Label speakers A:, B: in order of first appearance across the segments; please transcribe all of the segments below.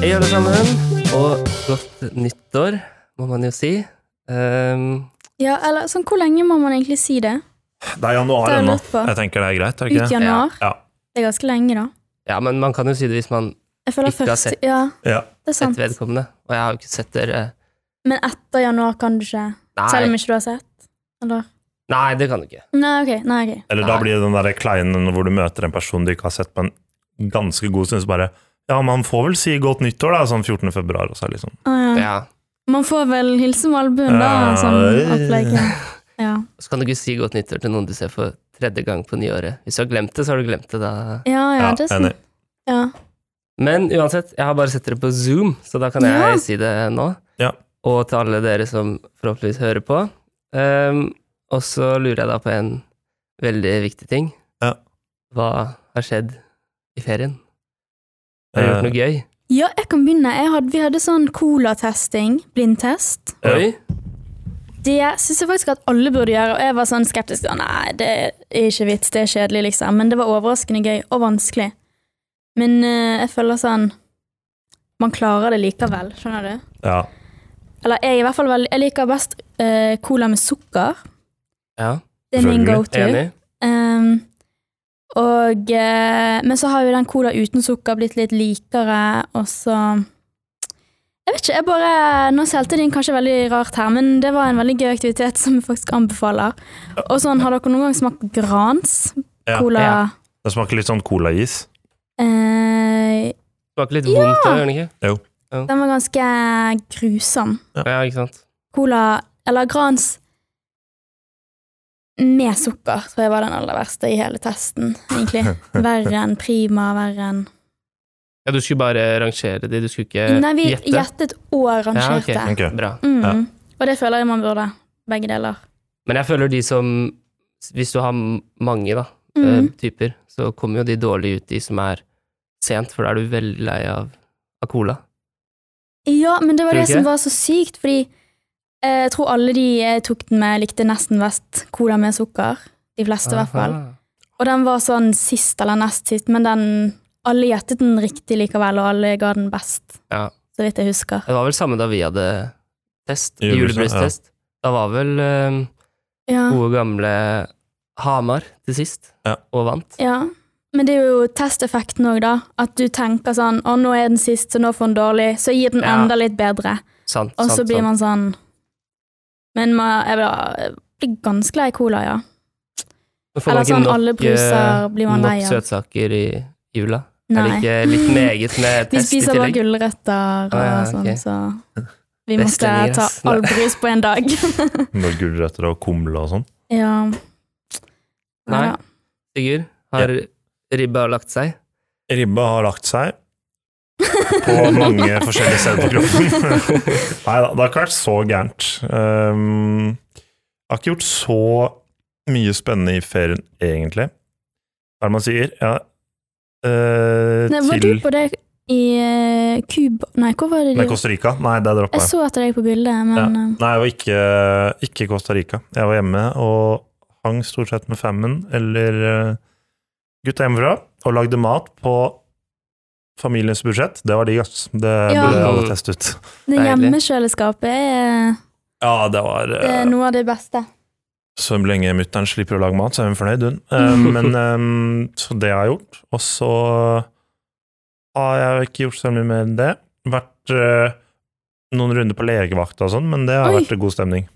A: Hei, alle sammen, og godt nyttår, må man jo si. Ehm,
B: Ja, eller sånn, Hvor lenge må man egentlig si det?
C: Det er januar
B: Det er
C: ennå.
B: lurt på.
C: Jeg tenker det er greit. er det
B: Ut
C: ikke det?
B: januar?
C: Ja.
B: Det er ganske lenge, da.
A: ja, men man kan jo si det hvis man
B: Jeg føler
A: Ikke har
B: først
A: sett-
B: Ja,
C: Ja.
B: det er
A: sett
B: sant.
A: vedkommende. Og jeg har jo ikke sett dere
B: Men etter januar kan du ikke? Selv om
A: Nei,
B: ikke du har sett? Eller?
A: nei det kan du ikke.
B: Nei, ok. Nei, ok.
C: Eller
A: Nei.
C: da blir det den der kleinen hvor du møter en person du ikke har sett på en ganske god stund, så bare Ja, man får vel si godt nyttår, da, sånn 14. februar, og så er det liksom
B: Ah, ja.
A: Ja.
B: Man får vel hilse med albuen, da.
C: Ja,
B: Sånn
C: det-
B: opplegg. ja. Ja.
A: Så kan du ikke si godt nyttår til noen du ser for tredje gang på nyåret. Hvis du har glemt det, så har du glemt det da.
B: ja, ja, det er sant.
C: enig.
B: Ja.
A: Men uansett, jeg har bare sett dere på Zoom, så da kan jeg
B: Ja.
A: si det nå.
C: Ja.
A: Og til alle dere som forhåpentligvis hører på. Ehm, og så lurer jeg da på en veldig viktig ting.
C: Ja.
A: Hva har skjedd i ferien? Har
C: Eh,
A: du gjort noe gøy?
B: ja, jeg kan begynne. Jeg hadde, vi hadde sånn colatesting, blindtest.
C: Ja.
A: Oi?
B: Det syns jeg faktisk at alle burde gjøre, og jeg var sånn skeptisk. sånn, Nei, det er ikke vits, det er kjedelig, liksom. Men det var overraskende gøy og vanskelig. Men eh, jeg føler sånn Man klarer det likevel, skjønner du?
C: Ja.
B: Eller jeg, er i hvert fall veldig, jeg liker best eh, cola med sukker.
A: Ja,
B: Det er min
C: Selvfølgelig.
B: go to.
A: enig.
B: Ehm, og, eh, men så har jo den cola uten sukker blitt litt likere, og så Jeg vet ikke, jeg bare Nå solgte de inn kanskje veldig rart her, men det var en veldig gøy aktivitet som jeg faktisk anbefaler. Og sånn, har dere noen gang smakt Grans?
C: Ja.
B: Cola
A: Ja.
C: Det smaker litt sånn colais.
B: eh,
A: Smaker litt vondt òg, gjør den ikke?
B: Den var ganske grusom.
A: Ja, ikke sant.
B: Cola Eller Grans med sukker tror jeg var den aller verste i hele testen, egentlig. Verre enn Prima, verre enn
A: Ja, du skulle bare rangere de, du skulle ikke
B: Nei, vi
A: gjette?
B: gjettet og rangerte.
A: Ja,
C: Ok.
A: Bra.
B: mm.
C: Ja.
B: Og det føler jeg man burde. Begge deler.
A: Men jeg føler de som Hvis du har mange, da, eh,
B: Mm.
A: typer, så kommer jo de dårlig ut, de som er sent, for da er du veldig lei av, av cola.
B: Ja, men det var
A: Tror du
B: det
A: ikke
B: som
A: det?
B: var så sykt, fordi eh, jeg tror alle de jeg tok den med, likte nesten best cola med sukker. De fleste, i hvert fall.
A: Aha.
B: Og den var sånn sist eller nest sist, men den alle gjettet den riktig likevel, og alle ga den best.
A: Ja.
B: Så vidt jeg husker.
A: Det var vel samme da vi hadde test,
C: Julebrus,
A: julebrustest. Da var vel eh,
B: Ja.
A: gode gamle Hamar til sist,
C: Ja.
A: og vant.
B: ja. Men det er jo testeffekten òg, da. At du tenker sånn 'Å, nå er den sist, så nå får den dårlig.' Så gir den
A: Ja.
B: enda litt bedre.
A: Sant,
B: Og så
A: sant,
B: blir
A: sant.
B: man sånn Men man, jeg, blir, jeg blir ganske lei cola, ja.
A: Men får man
B: eller
A: ikke
B: sånn,
A: nok,
B: alle bruser
A: eh,
B: blir man lei av.
A: Nok søtsaker i jula. Er det
B: Nei.
A: ikke litt meget med
B: Vi
A: test i
B: spiser bare
A: tillegg?
B: gulrøtter og
A: Å, ja,
B: sånn,
A: ok.
B: så vi måtte
A: Vestlendinger,
B: ta
A: ass.
B: all brus på en dag.
C: Med gulrøtter og kumle og sånn.
B: ja.
A: Nei.
B: Ja.
A: Sigurd, har ribba lagt seg?
C: Ribba har lagt seg på mange forskjellige steder på kroppen. Nei da, det har ikke vært så gærent. Um, jeg har ikke gjort så mye spennende i ferien, egentlig. Hva er det man sier? Ja, eh,
B: Nei, var du
C: til
B: på det i eh, Cuba Nei, hvor var det
C: Nei,
B: du
C: Costa Rica? Nei, det droppa
B: Jeg
C: jeg.
B: så etter deg på bildet, men eh,
C: Nei, jeg var ikke, ikke i Costa Rica. Jeg var hjemme og hang stort sett med fammen eller eh, gutta hjemmefra og lagde mat på familiens budsjett. Det var digg, ass. Det
B: Ja.
C: burde alle teste ut.
B: det
A: Deilig.
B: hjemmekjøleskapet er,
C: Ja, det var
B: det
C: eh,
B: er noe av det beste.
C: Så lenge mutter'n slipper å lage mat, så er hun fornøyd, hun. Eh, Men eh, Så det har jeg gjort. Og så har jeg ikke gjort så mye mer enn det. Vært eh, noen runder på legevakta og sånn, men det har
B: Oi.
C: vært god stemning.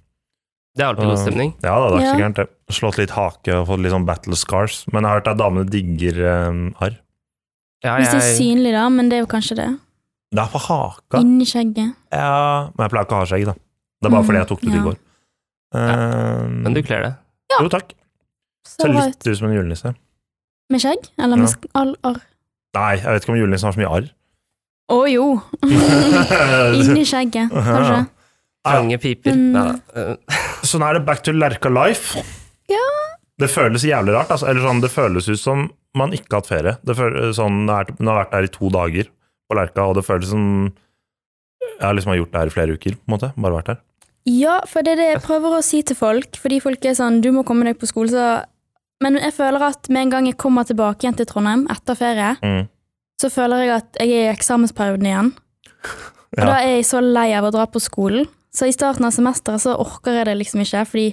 A: Det er alltid
C: Mm.
A: god stemning.
C: Ja da, det er ikke så
B: Ja.
C: gærent, det. Slått litt hake og fått litt sånn battle scars. Men jeg har hørt at damene digger eh, arr.
A: Ja,
B: Hvis det er
A: jeg,
B: synlig, da, men det er jo kanskje det.
C: Det er på haka.
B: Inni skjegget.
C: Ja, men jeg pleier ikke å ha skjegg, da. Det er bare fordi jeg tok det ut
B: Mm. Ja.
C: i går. Eh,
A: men du kler det.
C: Jo, takk.
B: Så
C: Ser
B: bra ut.
C: litt ut som en julenisse.
B: Med skjegg? Eller med
C: Ja.
B: sk- all arr?
C: Nei, jeg vet ikke om julenissen har så mye arr.
B: Å jo! Inni skjegget, kanskje.
C: Ah, Ja.
A: Trange piper.
B: Mm.
A: Neida. Eh,
C: Så nå er det back to Lerka life.
B: Ja.
C: Det føles jævlig rart. Altså, eller sånn, det føles ut som man ikke har hatt ferie. Det føles, sånn, det er, man har vært der i to dager på Lerka, og det føles som jeg har liksom har gjort det her i flere uker. på en måte, Bare vært her.
B: Ja, for det er det jeg prøver å si til folk, fordi folk er sånn 'du må komme deg på skole', så Men jeg føler at med en gang jeg kommer tilbake igjen til Trondheim etter ferie,
C: Mm.
B: så føler jeg at jeg er i eksamensperioden igjen. Og da er jeg så lei av å dra på skolen. Så i starten av semesteret så orker jeg det liksom ikke, fordi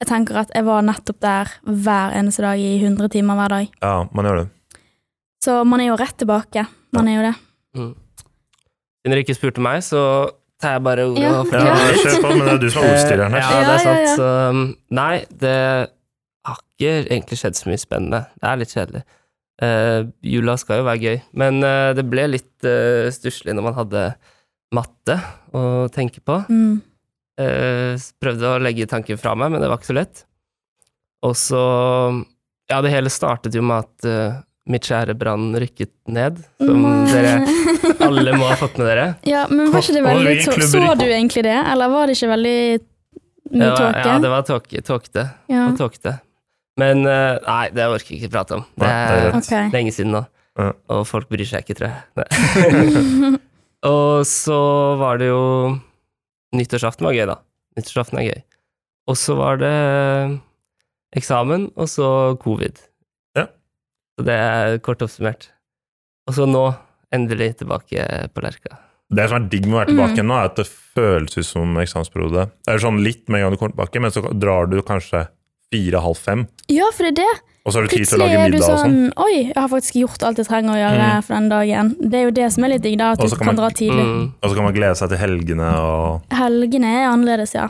B: jeg tenker at jeg var nettopp der hver eneste dag i 100 timer hver dag.
C: Ja, man gjør det.
B: Så man er jo rett tilbake. Man er jo det.
A: Mm. Siden dere ikke spurte meg, så tar jeg bare ordet.
B: Ja,
A: og
C: Ja,
A: forteller litt.
C: Kjør på, men det er du som er ordstyreren
A: Eh,
C: her.
A: Ja, det er
B: Ja, ja,
A: sant. Så, um, nei, det har ikke egentlig skjedd så mye spennende. Det er litt kjedelig. Eh, jula skal jo være gøy, men eh, det ble litt uh, stusslig når man hadde matte å tenke på.
B: Mm.
A: Eh, s- prøvde å legge tanken fra meg, men det var ikke så lett. Og så Ja, det hele startet jo med at eh, mitt kjære Brann rykket ned, som dere
B: Mm.
A: alle må ha fått med dere.
B: Ja, men var ikke det veldig
C: Oi,
B: så,
C: klubber.
B: så du egentlig det, eller var det ikke veldig
A: Det
B: mye
A: var,
B: tåke?
A: ja, det var tåke- tåkete.
B: Ja,
A: og tåkete. Men eh, nei, det orker jeg ikke prate om. Det
C: Nei, det
A: er
C: er
B: ok.
A: lenge siden nå.
C: Ja.
A: Og folk bryr seg ikke, tror jeg. Nei. og så var det jo Nyttårsaften var gøy, da. Nyttårsaften er gøy. Og så var det eh, eksamen, og så covid.
C: Ja.
A: Så det er kort oppsummert. Og så nå, endelig tilbake på Lerka.
C: Det som er digg med å være
B: Mm.
C: tilbake nå, er at det føles ut som eksamensperiode. Det er sånn litt med en gang du kommer tilbake, men så drar du kanskje fire-halv fem,
B: ja, for det er det.
C: og så har du tid til å
B: Plutselig
C: lage
B: er du
C: middag og
B: sånn
C: sånn.
B: Oi, jeg har faktisk gjort alt jeg trenger å gjøre for den dagen. Det er jo det som er litt digg, da, at
C: Og
B: du
C: så
B: kan,
C: kan man-
B: dra tidlig.
A: Mm.
C: Og så kan man glede seg til helgene, og
B: Helgene er annerledes, ja.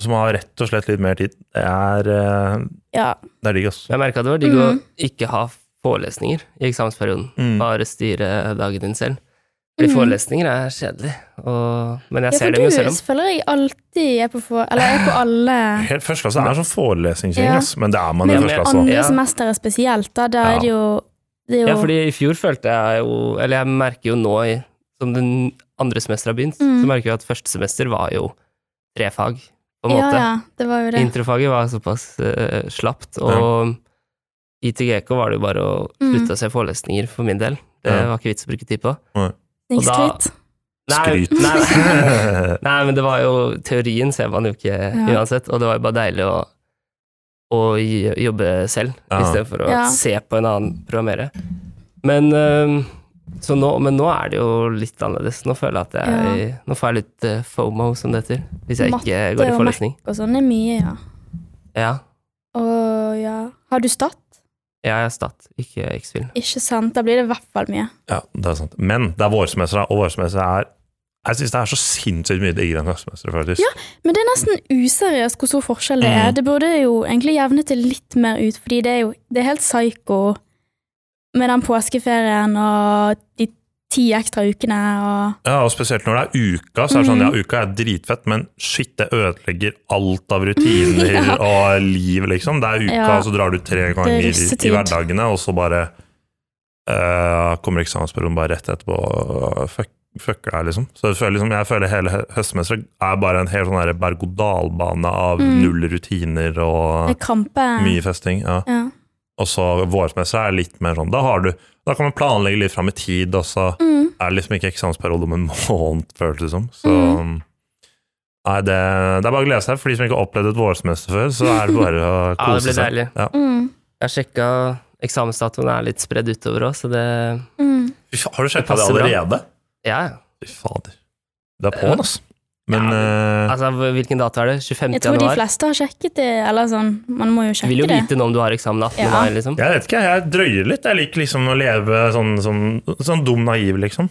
C: så man har rett og slett litt mer tid. Det er, eh,
B: Ja,
C: det er digg, ass.
A: Jeg merka det var digg
B: Mm.
A: å ikke ha forelesninger i eksamensperioden.
C: Mm.
A: bare styre dagen din selv. Fordi
B: Mhm.
A: forelesninger er kjedelig, og, men jeg
B: ja
A: ser
B: for
A: dem jo selv
B: du
A: om.
B: føler jeg alltid er på for... Eller er på alle
C: Helt første klasse er sånn forelesningsgjeng,
B: Ja.
C: ass, men det er man i
A: Ja,
C: første
A: men-
C: klasse.
B: Andre
A: Ja.
B: semestere spesielt, da. Da
C: Ja.
B: er det jo Det er jo
A: Ja, fordi i fjor følte jeg jo Eller jeg merker jo nå, i, som den andre semesteret har begynt,
B: Mm.
A: så merker jeg at første semester var jo tre fag, på en
B: ja,
A: måte.
B: ja, det var jo det.
A: Introfaget var såpass eh, slapt, og i TGK var det jo bare å
B: Mm.
A: slutte å se forelesninger for min del. Det
C: Ja.
A: var ikke vits å bruke tid på. og da-
B: Snikskryt.
A: Nei,
C: Skryt.
A: nei, Nei, men det var jo Teorien ser man jo ikke
B: Ja.
A: uansett, og det var jo bare deilig å, å j- jobbe selv,
C: Ja.
A: istedenfor å
B: Ja.
A: se på en annen programmere. Men, øhm, så nå, men nå er det jo litt annerledes. Nå føler jeg at jeg Nå får jeg litt eh, FOMO, som det heter, hvis jeg ikke
B: Matte
A: går i
B: og
A: forelesning.
B: Og sånn er mye, ja.
A: Ja,
B: Og ja Har du Stat?
A: jeg er stat, ikke X-film.
B: Ikke sant. Da blir det i hvert fall mye.
C: Ja, det er sant. Men det er vårsemester, og vårsemester er Jeg syns det er så sinnssykt mye diggere enn klassemester, faktisk.
B: Men det er nesten useriøst hvor stor forskjell det er.
C: Mhm.
B: Det burde jo egentlig jevnet det litt mer ut, fordi det er jo det er helt psyko med den påskeferien og de ti ekstra ukene og
C: Ja, og spesielt når det er uka, så er det sånn, ja,
B: Mm.
C: uka er dritfett, men shit, det ødelegger alt av rutiner
B: Ja.
C: og liv, liksom. Det er uka,
B: Ja.
C: og så drar du tre ganger i,
B: russetid.
C: i hverdagene, og så bare eh, kommer eksamensperioden bare rett etterpå og fuck, fucker deg, liksom. Så jeg føler, liksom, jeg føler hele hø- høstmesteret er bare en helt sånn der berg-og-dal-bane av
B: Mm.
C: null rutiner og
B: med krampe.
C: mye festing, ja.
B: Ja.
C: Og så vårsemesteret er litt mer sånn, da har du, da kan man planlegge litt frem i tid, og så
B: Mm.
C: er det liksom ikke eksamensperiode om en måned, føles det som. Så
B: Mhm.
C: nei, det, det er bare å glede seg. For de som ikke har opplevd et vårsemester før, så er det bare å
A: Ja, det
C: kose
A: blir
C: seg.
A: deilig.
B: Mm.
A: Jeg sjekka eksamensdatoen er litt spredd utover òg, så det
B: Mm.
C: Fy faen, Har du
A: Det
C: sjekka det
A: passer bra.
C: allerede?
A: Ja, ja.
C: Fy fader. Det er på'n, altså. Men eh,
A: Altså, hvilken dato er det? 25.
B: Jeg tror de
A: januar?
B: fleste har sjekket det, eller sånn. Man må jo
A: Du vil
B: sjekke
A: jo
B: det.
A: vite nå om du har eksamen 18.
B: Ja.
A: mai, liksom.
C: jeg vet ikke, jeg drøyer litt. Jeg liker liksom å leve sånn, sånn, sånn dum naiv, liksom.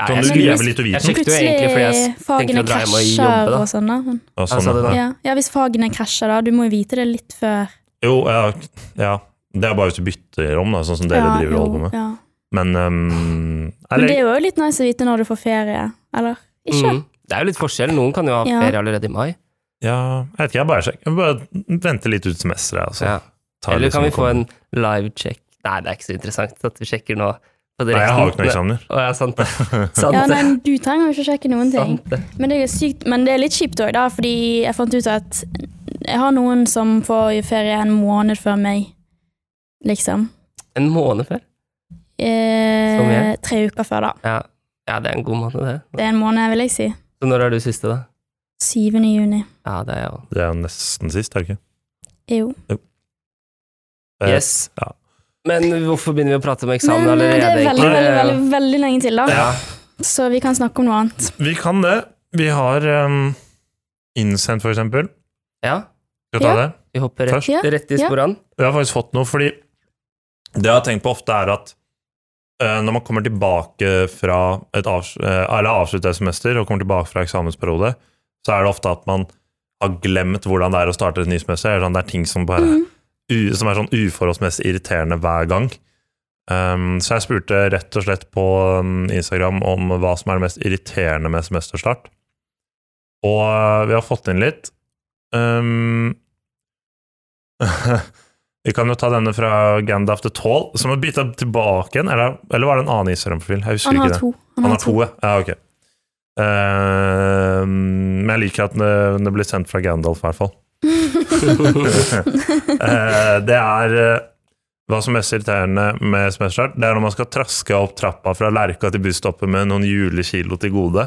A: Ja,
C: Sånn
A: jeg
C: du
A: sjekket-
C: lever litt
A: jeg sjekket
C: uvitende.
A: jo egentlig fordi jeg s-
B: Plutselig fagene
A: tenkte å dra hjem og jobbe,
B: krasjer
A: da. Mm.
B: og sånn, da. Men-
C: Ja,
A: Jeg sa det
C: sånn,
A: nå.
C: ja.
B: Ja. ja, hvis fagene krasjer, da. Du må jo vite det litt før.
C: Jo, ja, ja. Det er bare hvis du bytter om, da, sånn som dere
B: ja,
C: driver og
B: jo,
C: holder på med.
B: Ja.
C: Men ehm,
B: Men det
C: eller,
B: er jo litt nice å vite når du får ferie, eller? Ikke?
A: Mm. Det er jo litt forskjell. Noen kan jo ha
B: Ja.
A: ferie allerede i mai.
C: ja, jeg vet ikke, jeg bare sjekker. Jeg bare venter litt ut semesteret. Altså.
A: Ja.
C: Tar
A: Eller
C: liksom
A: kan vi
C: og
A: få
C: kommer.
A: en live check? Nei, det er ikke så interessant at vi sjekker nå på direkten.
C: Nei, jeg har jo ikke noen eksamener.
A: Å, ja, sant det. sant
B: Ja,
A: det.
B: nei, du trenger jo ikke sjekke noen ting.
A: Sant det.
B: Men det er sykt, men det er litt kjipt òg, da, fordi jeg fant ut at jeg har noen som får ferie en måned før meg, liksom.
A: En måned før? Som
B: Eh,
A: jeg?
B: tre uker før, da.
A: Ja. ja, det er en god måned, det.
B: Det er en måned, vil jeg si.
A: Så når er du siste, da?
B: 7. juni.
A: Ja, det er jeg òg.
C: Det er jo nesten sist, er det ikke?
B: Jo.
C: Eh,
A: Yes.
C: ja.
A: Men hvorfor begynner vi å prate om eksamen
B: Men eh,
A: allerede?
B: det er veldig,
A: egentlig?
B: veldig, veldig, veldig lenge til, da.
A: Ja.
B: så vi kan snakke om noe annet.
C: Vi kan det. Vi har um, innsendt, for eksempel.
A: Ja,
C: Skal vi ta
B: Ja.
C: det?
A: vi hopper rett,
B: Ja,
A: rett i
B: ja.
A: sporene.
C: Jeg har faktisk fått noe, fordi det jeg har tenkt på ofte, er at eh, når man kommer tilbake fra et avs eh, eller avsluttet semester og kommer tilbake fra eksamensperiode, så er det ofte at man har glemt hvordan det er å starte et nytt semester. Eller sånn, Det er ting som, bare,
B: Mhm.
C: u som er sånn uforholdsmessig irriterende hver gang. Um, så jeg spurte rett og slett på um, Instagram om hva som er det mest irriterende med semesterstart. Og eh, vi har fått inn litt. Um, vi kan jo ta denne fra Gandalf the Tall, som har bytta tilbake igjen. Eller, eller var det en annen Instagram-profil? Jeg husker
B: Han
C: ikke
B: har
C: det.
B: to.
C: Han har to, ja. ja ok. Eh, men jeg liker at det, det blir sendt fra Gandalf, i hvert fall. Eh, det er eh, Hva som er mest irriterende med semesterstart, det er når man skal traske opp trappa fra Lerka til busstoppet med noen julekilo til gode.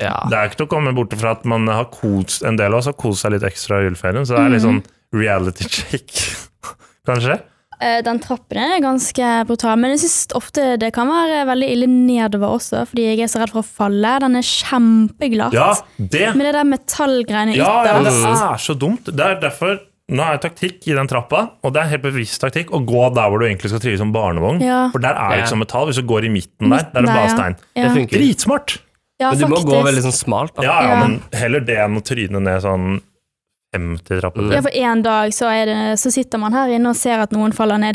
A: Ja.
C: Det er ikke til å komme bort fra at man har kost en del av oss har kost seg litt ekstra i juleferien, så det er litt sånn
B: Mhm.
C: reality check, kanskje.
B: Eh, Den trappen er ganske brutal, men jeg synes ofte det kan være veldig ille nedover også, fordi jeg er så redd for å falle. Den er kjempeglatt.
C: Ja, det
B: Med det der metallgreiene
C: Ja, ja, det
B: ytterst.
C: er så dumt. Det er derfor Nå er det taktikk i den trappa, og det er en helt bevisst taktikk å gå der hvor du egentlig skal trives som barnevogn.
B: Ja.
C: For der er det ikke
A: Ja.
C: sånn metall. Hvis du går i midten der, der er det
B: Midten
C: bare
B: der, ja.
C: stein.
A: Det
B: Ja.
A: funker.
C: Dritsmart!
B: Ja,
A: Men du må
B: faktisk.
A: gå veldig sånn smalt. Da.
C: Ja, ja,
B: Ja.
C: men heller det enn å tryne ned sånn 50 trapper.
B: Ja, for en dag så, er det, så sitter man her inne og ser at noen faller ned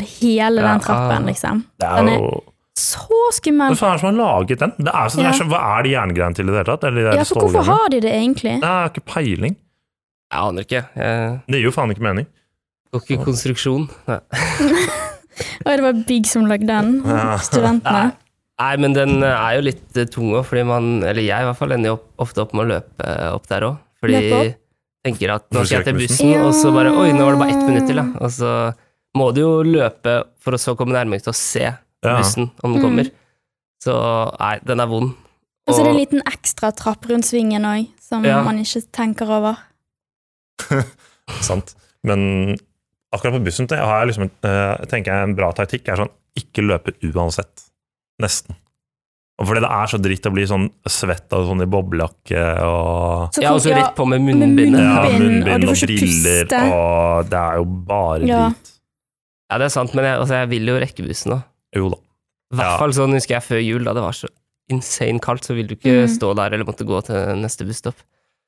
A: Ja,
B: hele den
A: ah.
B: trappen, liksom.
C: Det
B: Den
C: er
B: er-
C: jo
B: Så
C: Hvem
B: skummelt!
C: faen er det som har laget den? Det er sånn, det er
B: Ja.
C: sånn, hva er de jerngreiene til i det hele tatt? Eller de der
B: Ja, for hvorfor
C: stålgreiene?
B: har de det egentlig?
C: Det er ikke peiling.
A: Jeg aner ikke. Jeg
C: Det gir jo faen ikke mening.
A: går ikke i konstruksjon. Nei.
B: Oi, det var Big som lagde den.
C: Ja.
B: Studentene.
A: Nei, men den eh, er jo litt eh, tung òg, fordi man, eller jeg i hvert fall, ender jo opp- ofte opp med å løpe eh, opp der òg. Fordi
B: Løpe
A: jeg
B: opp?
A: tenker at nå skal jeg til
C: Forskrekkelsen.
A: bussen, og så bare
B: Ja.
A: Oi, nå var det bare ett minutt til, da. Og så må du jo løpe for å så komme nærmere til å se
C: Ja.
A: bussen om
B: Mm.
A: den kommer. Så nei, den er vond.
B: Og så er det en liten ekstra trapp rundt svingen òg, som
A: Ja.
B: man ikke tenker over.
C: Sant. Men akkurat på bussen te- har jeg liksom, en- eh, tenker jeg en bra taktikk er sånn ikke løpe uansett. Nesten. Og fordi det er så dritt å bli sånn svett av sånn i boblejakke og
B: Så
A: ja, og så
B: tenker jeg-
A: rett på med
B: med
A: munnbindet.
B: munnbind.
A: Ja.
C: ja,
B: og
C: munnbind
B: du
C: og
B: får ikke
C: briller
B: puste.
C: og Det er jo bare
B: Ja.
C: dritt.
A: ja, det er sant, men jeg, altså, jeg vil jo rekke bussen òg.
C: Jo da.
A: I hvert
C: Ja.
A: fall sånn husker jeg før jul, da det var så insane kaldt, så ville du ikke
B: Mm.
A: stå der eller måtte gå til neste busstopp.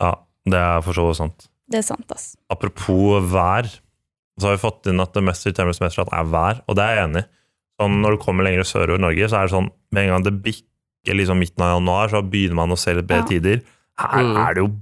C: Ja, det er for så vidt sant.
B: Det er sant, ass.
C: Apropos vær, så har vi fått inn at det mest irriterende med semesteret er vær, og det er jeg enig i. Sånn, når du kommer lenger sørover i Norge, så er det sånn med en gang det bikker liksom midten av januar, så begynner man å se litt bedre
B: Ja.
C: tider. Her
A: Mm.
C: er det jo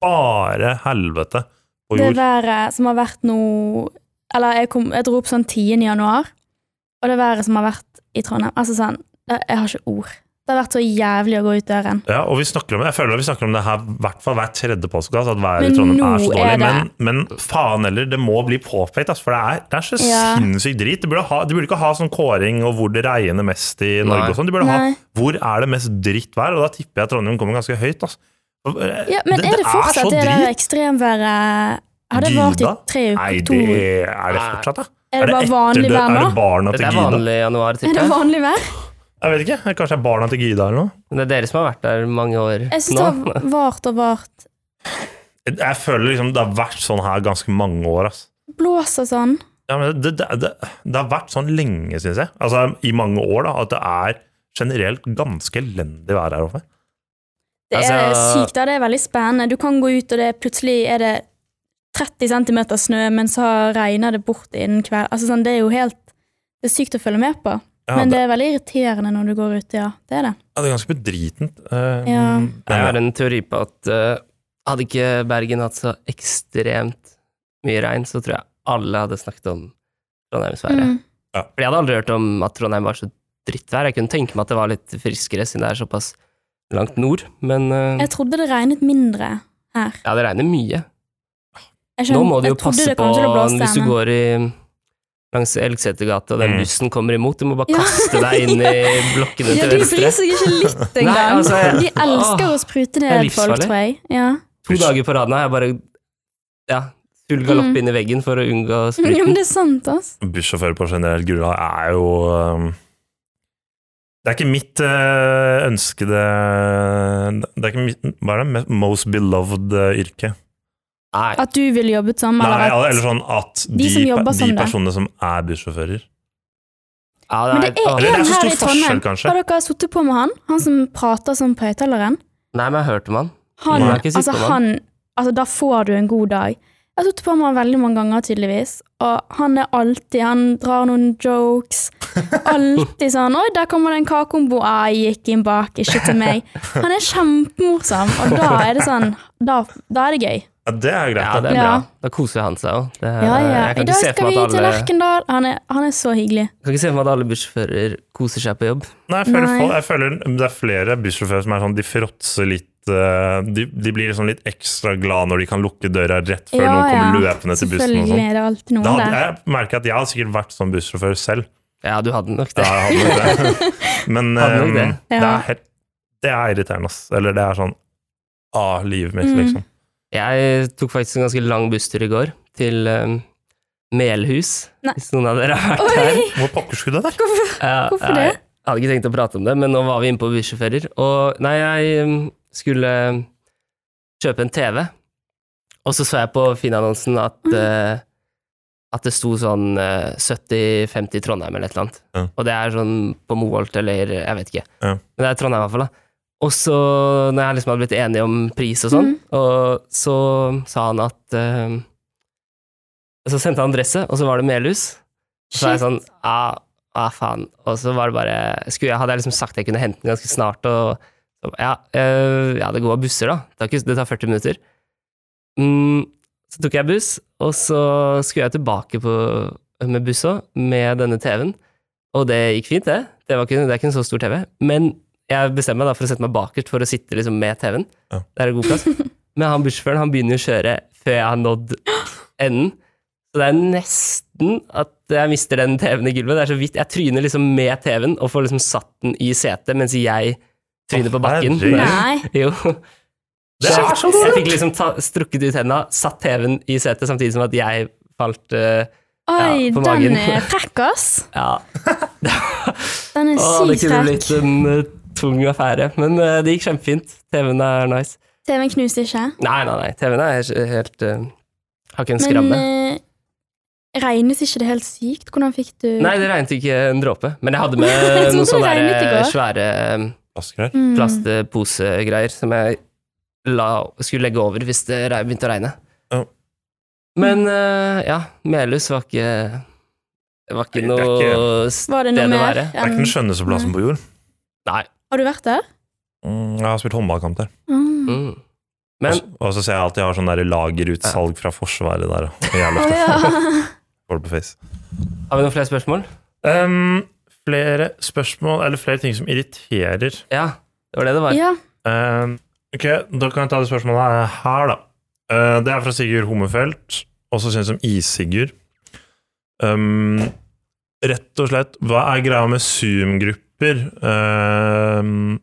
C: bare helvete på
B: Det
C: jord.
B: været som har vært nå Eller jeg, kom, jeg dro opp sånn 10. januar, og det været som har vært i Trondheim Altså sånn, jeg, jeg har ikke ord. Det har vært så jævlig å gå ut døren.
C: Ja, og vi snakker om det. Jeg føler at vi snakker om det her i hvert fall hver tredje påskekass, at været i
B: Men
C: Trondheim
B: nå
C: er så
B: er
C: dårlig.
B: det-
C: men, men faen heller, det må bli påpekt, altså, for det er, det er så
B: Ja.
C: sinnssykt drit. De burde, ha, de burde ikke ha sånn kåring og hvor det regner mest i Norge
A: Nei.
C: og sånn. De burde ha
B: Nei.
C: hvor er det mest drittvær, og da tipper jeg Trondheim kommer ganske høyt. Altså.
B: Ja, men er det fortsatt det, der ekstremværet Har det vart i
C: Gyda?
B: tre uker?
C: Nei,
B: to
C: det
B: uker?
C: er det
A: Nei.
C: fortsatt, da.
B: Er det bare vanlig
C: etterdød-
B: vær nå?
C: Er det barna
A: Det
C: til
A: er
C: Gyda?
A: vanlig i januar,
B: Er
A: tipper
B: det
A: jeg.
B: vanlig vær?
C: Jeg vet ikke, kanskje det er barna til Gyda eller noe?
A: Men det er dere som har vært der mange år
B: Jeg syns
A: nå.
B: det har vart og vart.
C: Jeg føler liksom det har vært sånn her ganske mange år, altså. ass.
B: Blåser sånn.
C: Ja, men det, det, det, det har vært sånn lenge, syns jeg. Altså i mange år, da. At det er generelt ganske elendig vær her oppe.
B: Det er
A: Altså-
B: sykt, da. Det er veldig spennende. Du kan gå ut, og det er plutselig er det 30 cm snø, men så regner det bort innen kveld. Altså sånn, Det er jo helt Det er sykt å følge med på.
C: Ja,
B: men
C: det,
B: det er veldig irriterende når du går ute, ja. Det er det.
C: ja, det er ganske bedritent. Eh,
B: Ja.
A: Jeg har
C: men-
A: en teori på at eh, hadde ikke Bergen hatt så ekstremt mye regn, så tror jeg alle hadde snakket om Trondheimsværet.
B: Mm.
A: For jeg hadde aldri hørt om at Trondheim var så drittvær. Jeg kunne tenke meg at det var litt friskere, siden det er såpass langt nord. Men eh,
B: Jeg trodde det regnet mindre her.
A: ja, det regner mye. Nå
B: Jeg skjønner-
A: må du
B: jeg
A: jo
B: trodde
A: passe
B: det
A: på
B: kom til å blåse,
A: hvis du
B: men-
A: går i, langs Elgsetergata og den
C: Mm.
A: bussen kommer imot. Du må bare
B: Ja.
A: kaste deg inn i blokkene
B: ja,
A: til
B: De bryr
A: venstre.
B: seg ikke litt
A: Nei,
B: engang.
A: altså,
B: de elsker å sprute ned
A: det er
B: folk,
A: livsfarlig.
B: tror jeg. Ja.
A: To dager på raden har jeg bare ja,
B: Mm.
A: full galopp inn i veggen for å unngå
B: ja,
A: spruten.
B: men det er sant, altså.
C: Bussjåfører på generelt grunnlag er jo eh, um, Det er ikke mitt eh, ønskede Det er ikke mitt, Hva er det? Me- Most beloved eh, yrke.
A: Nei.
B: At du ville jobbet som?
C: Nei,
B: eller at-
C: eller sånn at de,
B: som jobber
C: pe-
B: som
C: de
B: det.
C: personene som er bussjåfører
A: Ja,
B: Men
A: det er,
B: det er
A: Åh,
C: Eller det
B: en
C: er så
B: her i
C: stor forskjell,
B: Trondheim.
C: kanskje.
B: Har dere sittet på med han? Han som prater sånn på høyttaleren?
A: Nei, men jeg hørte om han.
B: Han,
C: Nei, jeg
A: har ikke sittet
B: altså,
A: på med
B: han, altså, da får du en god dag. Jeg har sittet på med han veldig mange ganger, tydeligvis. Og han er alltid Han drar noen jokes. Alltid sånn 'Oi, der kommer det en kakeombo.' Ah, 'Jeg gikk inn bak, ikke til meg.' Han er kjempemorsom, og da er det sånn Da, da er det gøy.
C: Ja, det er greit.
A: Ja, det
C: da.
A: er bra.
B: Ja.
A: Da koser han seg òg.
B: Ja, ja.
A: Jeg
B: I
A: kan
B: dag
A: ikke se
B: skal
A: for
B: vi
A: meg at
B: til
A: alle,
B: Lerkendal. Han er, han er så hyggelig.
A: kan ikke se for meg at alle bussjåfører koser seg på jobb.
C: Nei, jeg føler,
B: Nei.
C: folk- jeg føler det er flere bussjåfører som er sånn, de fråtser litt eh, de, de blir liksom litt ekstra glad når de kan lukke døra rett før
B: Ja,
C: noen kommer
B: ja.
C: løpende til bussen. og
B: Selvfølgelig
C: sånn.
B: er det alltid
C: Da
B: noen
C: hadde,
B: der.
C: jeg merker at jeg har sikkert vært sånn bussjåfør selv.
A: Ja, du hadde nok
C: Ja,
A: det.
C: jeg hadde nok det. Men
A: Hadde nok
C: ehm,
A: det.
C: det.
B: Ja.
C: er helt, det er irriterende, ass. Eller det er sånn ah, livet mitt,
B: Mm.
C: liksom.
A: Jeg tok faktisk en ganske lang busstur i går, til eh, Melhus,
B: Nei.
A: hvis noen av dere har vært der.
B: Oi!
C: Hvor pokker skulle det der?
B: Hvorfor?
A: Ja,
B: Hvorfor
A: Eh, nei,
B: det?
A: Jeg hadde ikke tenkt å prate om det, men nå var vi inne på bussjåfører. Og nei, jeg um, skulle kjøpe en TV, og så så jeg på Finn-annonsen at,
B: Mm.
A: eh, at det sto sånn eh, 70-50 Trondheim eller et eller annet.
C: Ja.
A: Og det er sånn på Moholt eller jeg vet ikke.
C: Ja.
A: Men det er Trondheim i hvert fall, da. Og så, når jeg liksom hadde blitt enig om pris og sånn,
B: Mm.
A: og så sa han at eh, Så sendte han adresse, og så var det Melhus. Så var jeg
B: Shit.
A: sånn Ja, ah, faen. Og så var det bare skulle jeg, Hadde jeg liksom sagt jeg kunne hente den ganske snart, og så, ja, eh, ja, det går busser, da. Det tar, ikke, det tar 40 minutter. Mm, så tok jeg buss, og så skulle jeg tilbake på, med buss òg, med denne TV-en. Og det gikk fint, det. Det, var ikke, det er ikke en så stor TV. Men jeg bestemmer meg da for å sette meg bakerst for å sitte liksom med TV-en.
C: Ja.
A: Det er en god plass. Men han bussjåføren han begynner jo å kjøre før jeg har nådd enden. Så det er nesten at jeg mister den TV-en i gulvet. Det er så vidt. Jeg tryner liksom med TV-en og får liksom satt den i setet mens jeg tryner på bakken.
C: Å, herregud.
B: Nei.
A: Jo.
C: Det er så
A: jeg fikk liksom ta, strukket ut henda, satt TV-en i setet samtidig som at jeg falt eh,
B: Oi,
A: på magen.
B: den er frekk, ass.
A: Ja.
B: Den
A: Å,
B: er
A: det
B: sykt
A: kunne
B: frekk.
A: blitt en eh, tung affære. Men eh, det gikk kjempefint. TV-en er nice.
B: TV-en knuste ikke.
A: Nei, nei, nei. TV-en er he- helt eh, Har ikke en
B: Men
A: skramme.
B: eh, regnes ikke det helt sykt? Hvordan fikk du
A: Nei, det regnet ikke en dråpe. Men jeg hadde
B: Jeg
A: med
B: trodde
A: noen
B: det
A: sånne
B: regnet i
A: der, eh,
B: går.
A: svære eh,
C: Asker her.
B: Mm.
A: plastposegreier som jeg la, skulle legge over hvis det re- begynte å regne.
C: Ja.
A: Men eh, ja, Melhus var ikke det var ikke
C: Nei, det er
A: noe
C: ikke-
A: s-
B: Var det
A: Det
B: noe
A: det
B: mer?
A: være.
C: Det er
B: enn-
C: ikke den skjønneste
B: Mm.
C: plassen på jord.
A: Nei.
B: Har du vært der?
C: Mm, Jeg har spilt håndballkamp der.
B: Mm.
A: Mm. Men
C: og, så, og så ser jeg alltid jeg har sånn der lagerutsalg fra Forsvaret der. og Jævla
B: Å
C: ofte.
B: ja.
C: Får det på face.
A: har vi noen flere spørsmål?
C: Ehm, flere spørsmål, eller flere ting som irriterer.
A: Ja, det var det det var.
B: ja.
C: Ehm, ok, da kan jeg ta det spørsmålet her, da. Eh, det er fra Sigurd Hommefeldt, også kjent som Is-Sigurd. Ehm, rett og slett, hva er greia med Zoom-grupper? Ehm,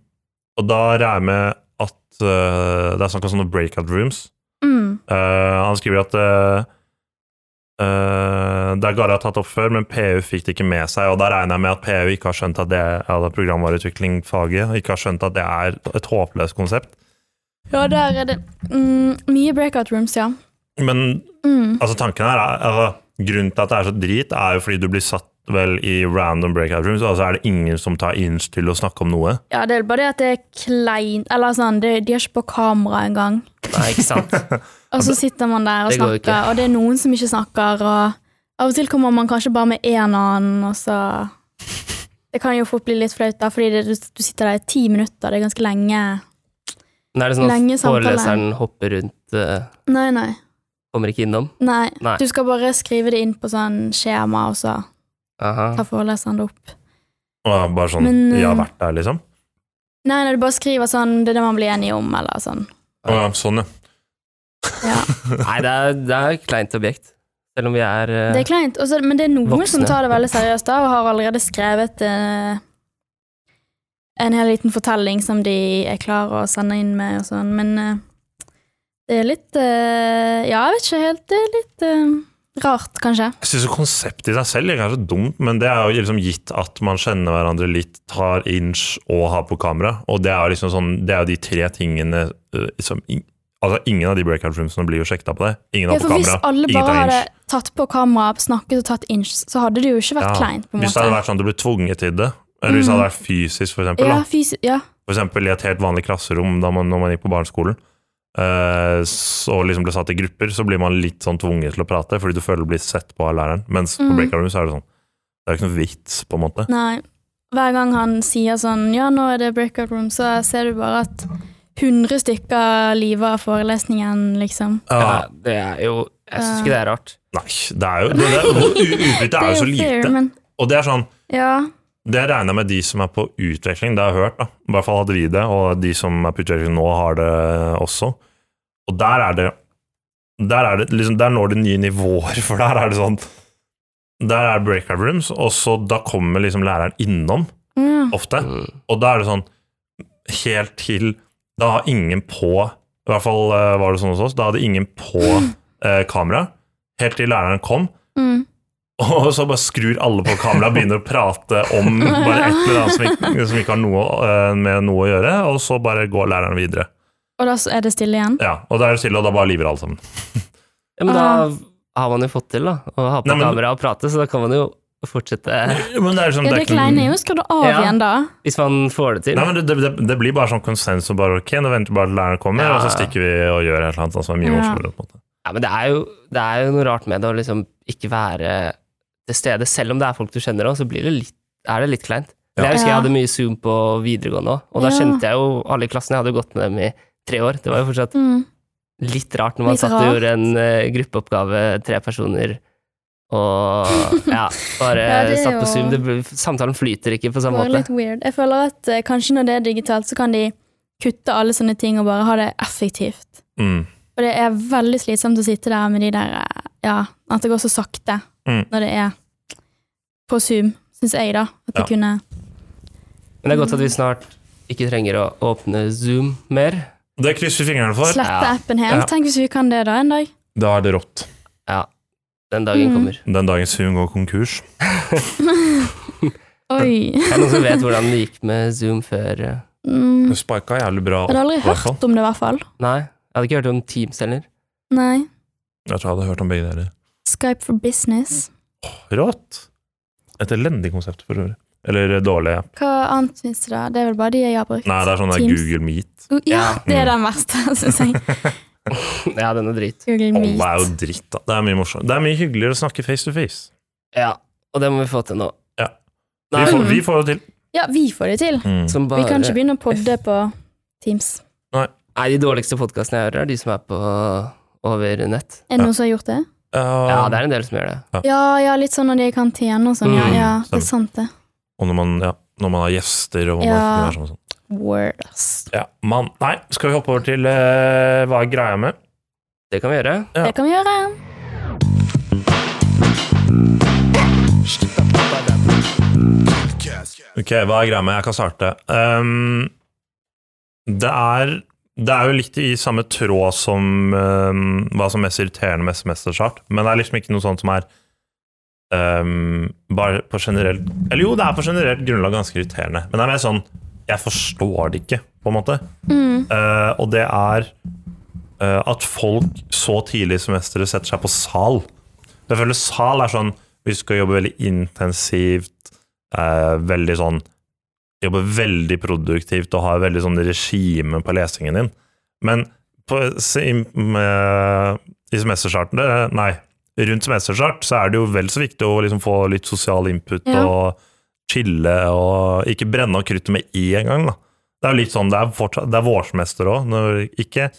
C: og da regner jeg med at eh, det er snakk om sånne breakout rooms.
B: Mm.
C: Eh, han skriver at eh, eh, det er Gara har tatt opp før, men PU fikk det ikke med seg. Og da regner jeg med at PU ikke har skjønt at det er programvareutvikling-faget, ikke har skjønt at det er et håpløst konsept.
B: ja, der er det mm, mye breakout rooms, ja.
C: Men
B: Mm.
C: altså, tanken her er altså, Grunnen til at det er så drit, er jo fordi du blir satt vel i random breakout rooms, og så er det ingen som tar inch til å snakke om noe.
B: Ja, det er bare det at det er kleint Eller sånn, det, de er ikke på kamera engang.
A: Nei, ikke sant.
B: Og så sitter man der og
A: Det går jo
B: snakker, og det er noen som ikke snakker, og av og til kommer man kanskje bare med en annen, og så Det kan jo fort bli litt flaut, da, fordi det, du, du sitter der i ti minutter, det er ganske lenge.
A: Men er det sånn
B: Lenge
A: at
B: samtale.
A: foreleseren hopper rundt, eh,
B: Nei, nei.
A: kommer ikke innom?
B: Nei.
A: Nei.
B: Du skal bare skrive det inn på sånn skjema, og så
A: Aha.
B: tar foreleseren det opp.
C: Og jeg er bare sånn
B: Men, eh,
C: Jeg har vært der, liksom.
B: Nei, nei, du bare skriver sånn Det er det man blir enige om, eller sånn.
C: Å ja, sånn, ja.
B: Ja.
A: Nei, det er, det er et kleint objekt. Selv om vi er eh,
B: Det er kleint. Og så- men det er noen som
A: Voksne.
B: tar det veldig seriøst da, og har allerede skrevet eh, en hel liten fortelling som de er klar å sende inn med og sånn, men eh, det er litt eh, Ja, jeg vet ikke helt. Det er litt eh, Rart, kanskje.
C: Jeg syns konseptet i seg selv ikke er så dumt, men det er jo liksom gitt at man kjenner hverandre litt, tar inch og har på kamera. Og det er jo liksom sånn, det er jo de tre tingene eh, som in- Altså, ingen av de breakout roomsene blir jo sjekta på det. Ingen
B: Ja,
C: har på
B: for hvis
C: kamera.
B: alle
C: ingen
B: bare
C: tar
B: hadde
C: inch.
B: tatt på kamera, snakket og tatt inch, så hadde det jo ikke vært
C: Ja,
B: kleint. på en
C: Hvis det hadde
B: måte. Mm.
C: vært sånn at du ble tvunget til det, eller hvis det hadde vært fysisk, for eksempel,
B: Ja,
C: da.
B: fysi ja.
C: For eksempel i et helt vanlig klasserom da man, når man gikk på barneskolen, eh, så liksom ble satt i grupper, så blir man litt sånn tvunget til å prate, fordi du føler du blir sett på av læreren. Mens på
B: Mm.
C: breakout room så er det sånn, det er jo ikke noe vits, på en måte.
B: Nei. Hver gang han sier sånn Ja, nå er det breakout room, så ser du bare at 100 stykker liver av forelesningen, liksom.
A: Ja,
C: Ja,
A: det er jo Jeg syns ikke det er rart.
C: nei, det er jo, det, det, og u- utbyttet er jo så
B: fair,
C: lite.
B: men
C: Og det er sånn,
B: Ja.
C: det regner jeg med de som er på utveksling, det har jeg hørt da. I hvert fall hadde vi det, og de som er på utveksling nå har det også. Og der er det, der er det liksom, der når det nye nivåer, for der er det sånn, der er breakout rooms, og så da kommer liksom læreren innom,
B: ja.
C: ofte.
A: Mm.
C: Og da er det sånn, helt til, da har ingen på, i hvert fall eh, var det sånn hos oss, da hadde ingen på eh, kamera, helt til læreren kom,
B: Mm.
C: og så bare skrur alle på kameraet og begynner å prate om bare et eller annet som ikke, som ikke har noe eh, med noe å gjøre, og så bare går læreren videre.
B: Og da så er det stille igjen?
C: Ja, Og da er det stille, og da bare lyver alle sammen.
A: Ja, men da har man jo fått til, da. Å ha på
C: Nei, men-
A: kamera og prate, så da kan man jo fortsette
C: Men det er liksom,
B: Ja,
C: det er
B: det
C: ikke-
B: kleine er jo skrudd av
A: Ja.
B: igjen, da.
A: Hvis man får det til.
C: Nei, men det, det, det blir bare sånn konsensus og bare ok, nå venter vi bare til læreren kommer,
A: Ja.
C: og så stikker vi og gjør et eller annet som er mye
B: Ja.
C: morsommere. på en måte.
A: Ja, men det er, jo, det er jo noe rart med det å liksom ikke være til stede. Selv om det er folk du kjenner òg, så blir det litt, er det litt kleint. Men Jeg husker jeg
B: Ja.
A: hadde mye Zoom på videregående òg, og da
B: Ja.
A: kjente jeg jo alle i klassen. Jeg hadde jo gått med dem i tre år. Det var jo fortsatt
B: Mm.
A: litt rart når man
B: Litt
A: satt og
B: rart.
A: gjorde en eh, gruppeoppgave, tre personer, og ja, bare
B: Ja, det er
A: satt på
B: jo-
A: Zoom. Det blir, samtalen flyter ikke på
B: Det
A: samme
B: var
A: måte.
B: litt weird. Jeg føler at eh, kanskje når det er digitalt, så kan de kutte alle sånne ting og bare ha det effektivt.
C: Mm.
B: Og det er veldig slitsomt å sitte der med de der eh, Ja, at det går så sakte
C: Mm.
B: når det er på Zoom, syns jeg, da. At de
C: Ja.
A: Men
B: kunne
A: det er godt
B: Mm.
A: at vi snart ikke trenger å åpne Zoom mer.
C: Det krysser vi fingrene for.
B: slette
A: Ja.
B: appen helt.
C: Ja.
B: Tenk hvis vi kan det da en dag.
C: Da er det rått.
A: Ja, den dagen
B: Mm.
A: kommer.
C: Den dagen Zoom går konkurs.
B: Oi.
A: Er det noen som vet hvordan det gikk med Zoom før eh,
B: Mm.
C: Det spika jævlig bra
B: Jeg hadde aldri
C: opp, i hvert fall.
B: hørt om det, i hvert fall.
A: Nei, jeg hadde ikke hørt om Teams heller.
B: Nei.
C: Jeg tror jeg hadde hørt om begge deler.
B: Skype for business.
C: Rått! Et elendig konsept, for øvrig. Eller dårlig. ja.
B: Hva annet finnes det da? Det er vel bare de jeg har brukt.
C: Nei, det er sånn der
B: Teams.
C: Google Meet.
B: Go- Ja,
A: Ja.
B: det er den verste, syns jeg.
A: Ja, den er drit.
B: Google
C: Alle er jo
B: Meet.
C: dritt, da. Det er mye morsomt. Det er mye hyggeligere å snakke face to face.
A: Ja, og det må vi få til nå.
C: Ja. Vi
A: Nei,
C: får, vi får det til. Mm.
B: Ja, vi får det til.
A: som
B: Vi
A: bare,
B: kan ikke begynne å podde på Teams.
A: Nei, de dårligste podkastene jeg hører, er de som er på over nett.
B: Er det noen som har gjort det?
A: Ja,
C: Uh,
A: det er en del som gjør det.
B: Ja, ja, litt sånn når de er i karantene og sånn. Ja,
A: Mm,
B: ja, det er sant, det.
C: og når man, ja, når man har gjester og man
B: Ja.
C: er sånn, og sånn.
B: Word, ass.
C: Ja, mann. Nei, skal vi hoppe over til eh, hva er greia med?
A: Det kan vi gjøre.
C: Ja.
B: Det kan vi gjøre.
C: Ok, hva er greia med? Jeg kan starte. Ehm, det, er, det er jo litt i samme tråd som ehm, hva som er mest irriterende med SMS-start, men det er liksom ikke noe sånt som er ehm, bare på generelt Eller jo, det er på generelt grunnlag ganske irriterende, men det er mer sånn Jeg forstår det ikke, på en måte.
B: Mm.
C: Eh, og det er eh, at folk så tidlig i semesteret setter seg på sal. Jeg føler sal er sånn Vi skal jobbe veldig intensivt, eh, veldig sånn Jobbe veldig produktivt og ha veldig sånn regime på lesingen din. Men på, se- i, med, i semesterstarten det, Nei, rundt semesterstart så er det jo vel så viktig å liksom få litt sosial input
B: Ja.
C: og chille og ikke brenne av kruttet med en gang, da. Det er jo litt sånn, det er, fortsatt, det er vårsemester òg. Ikke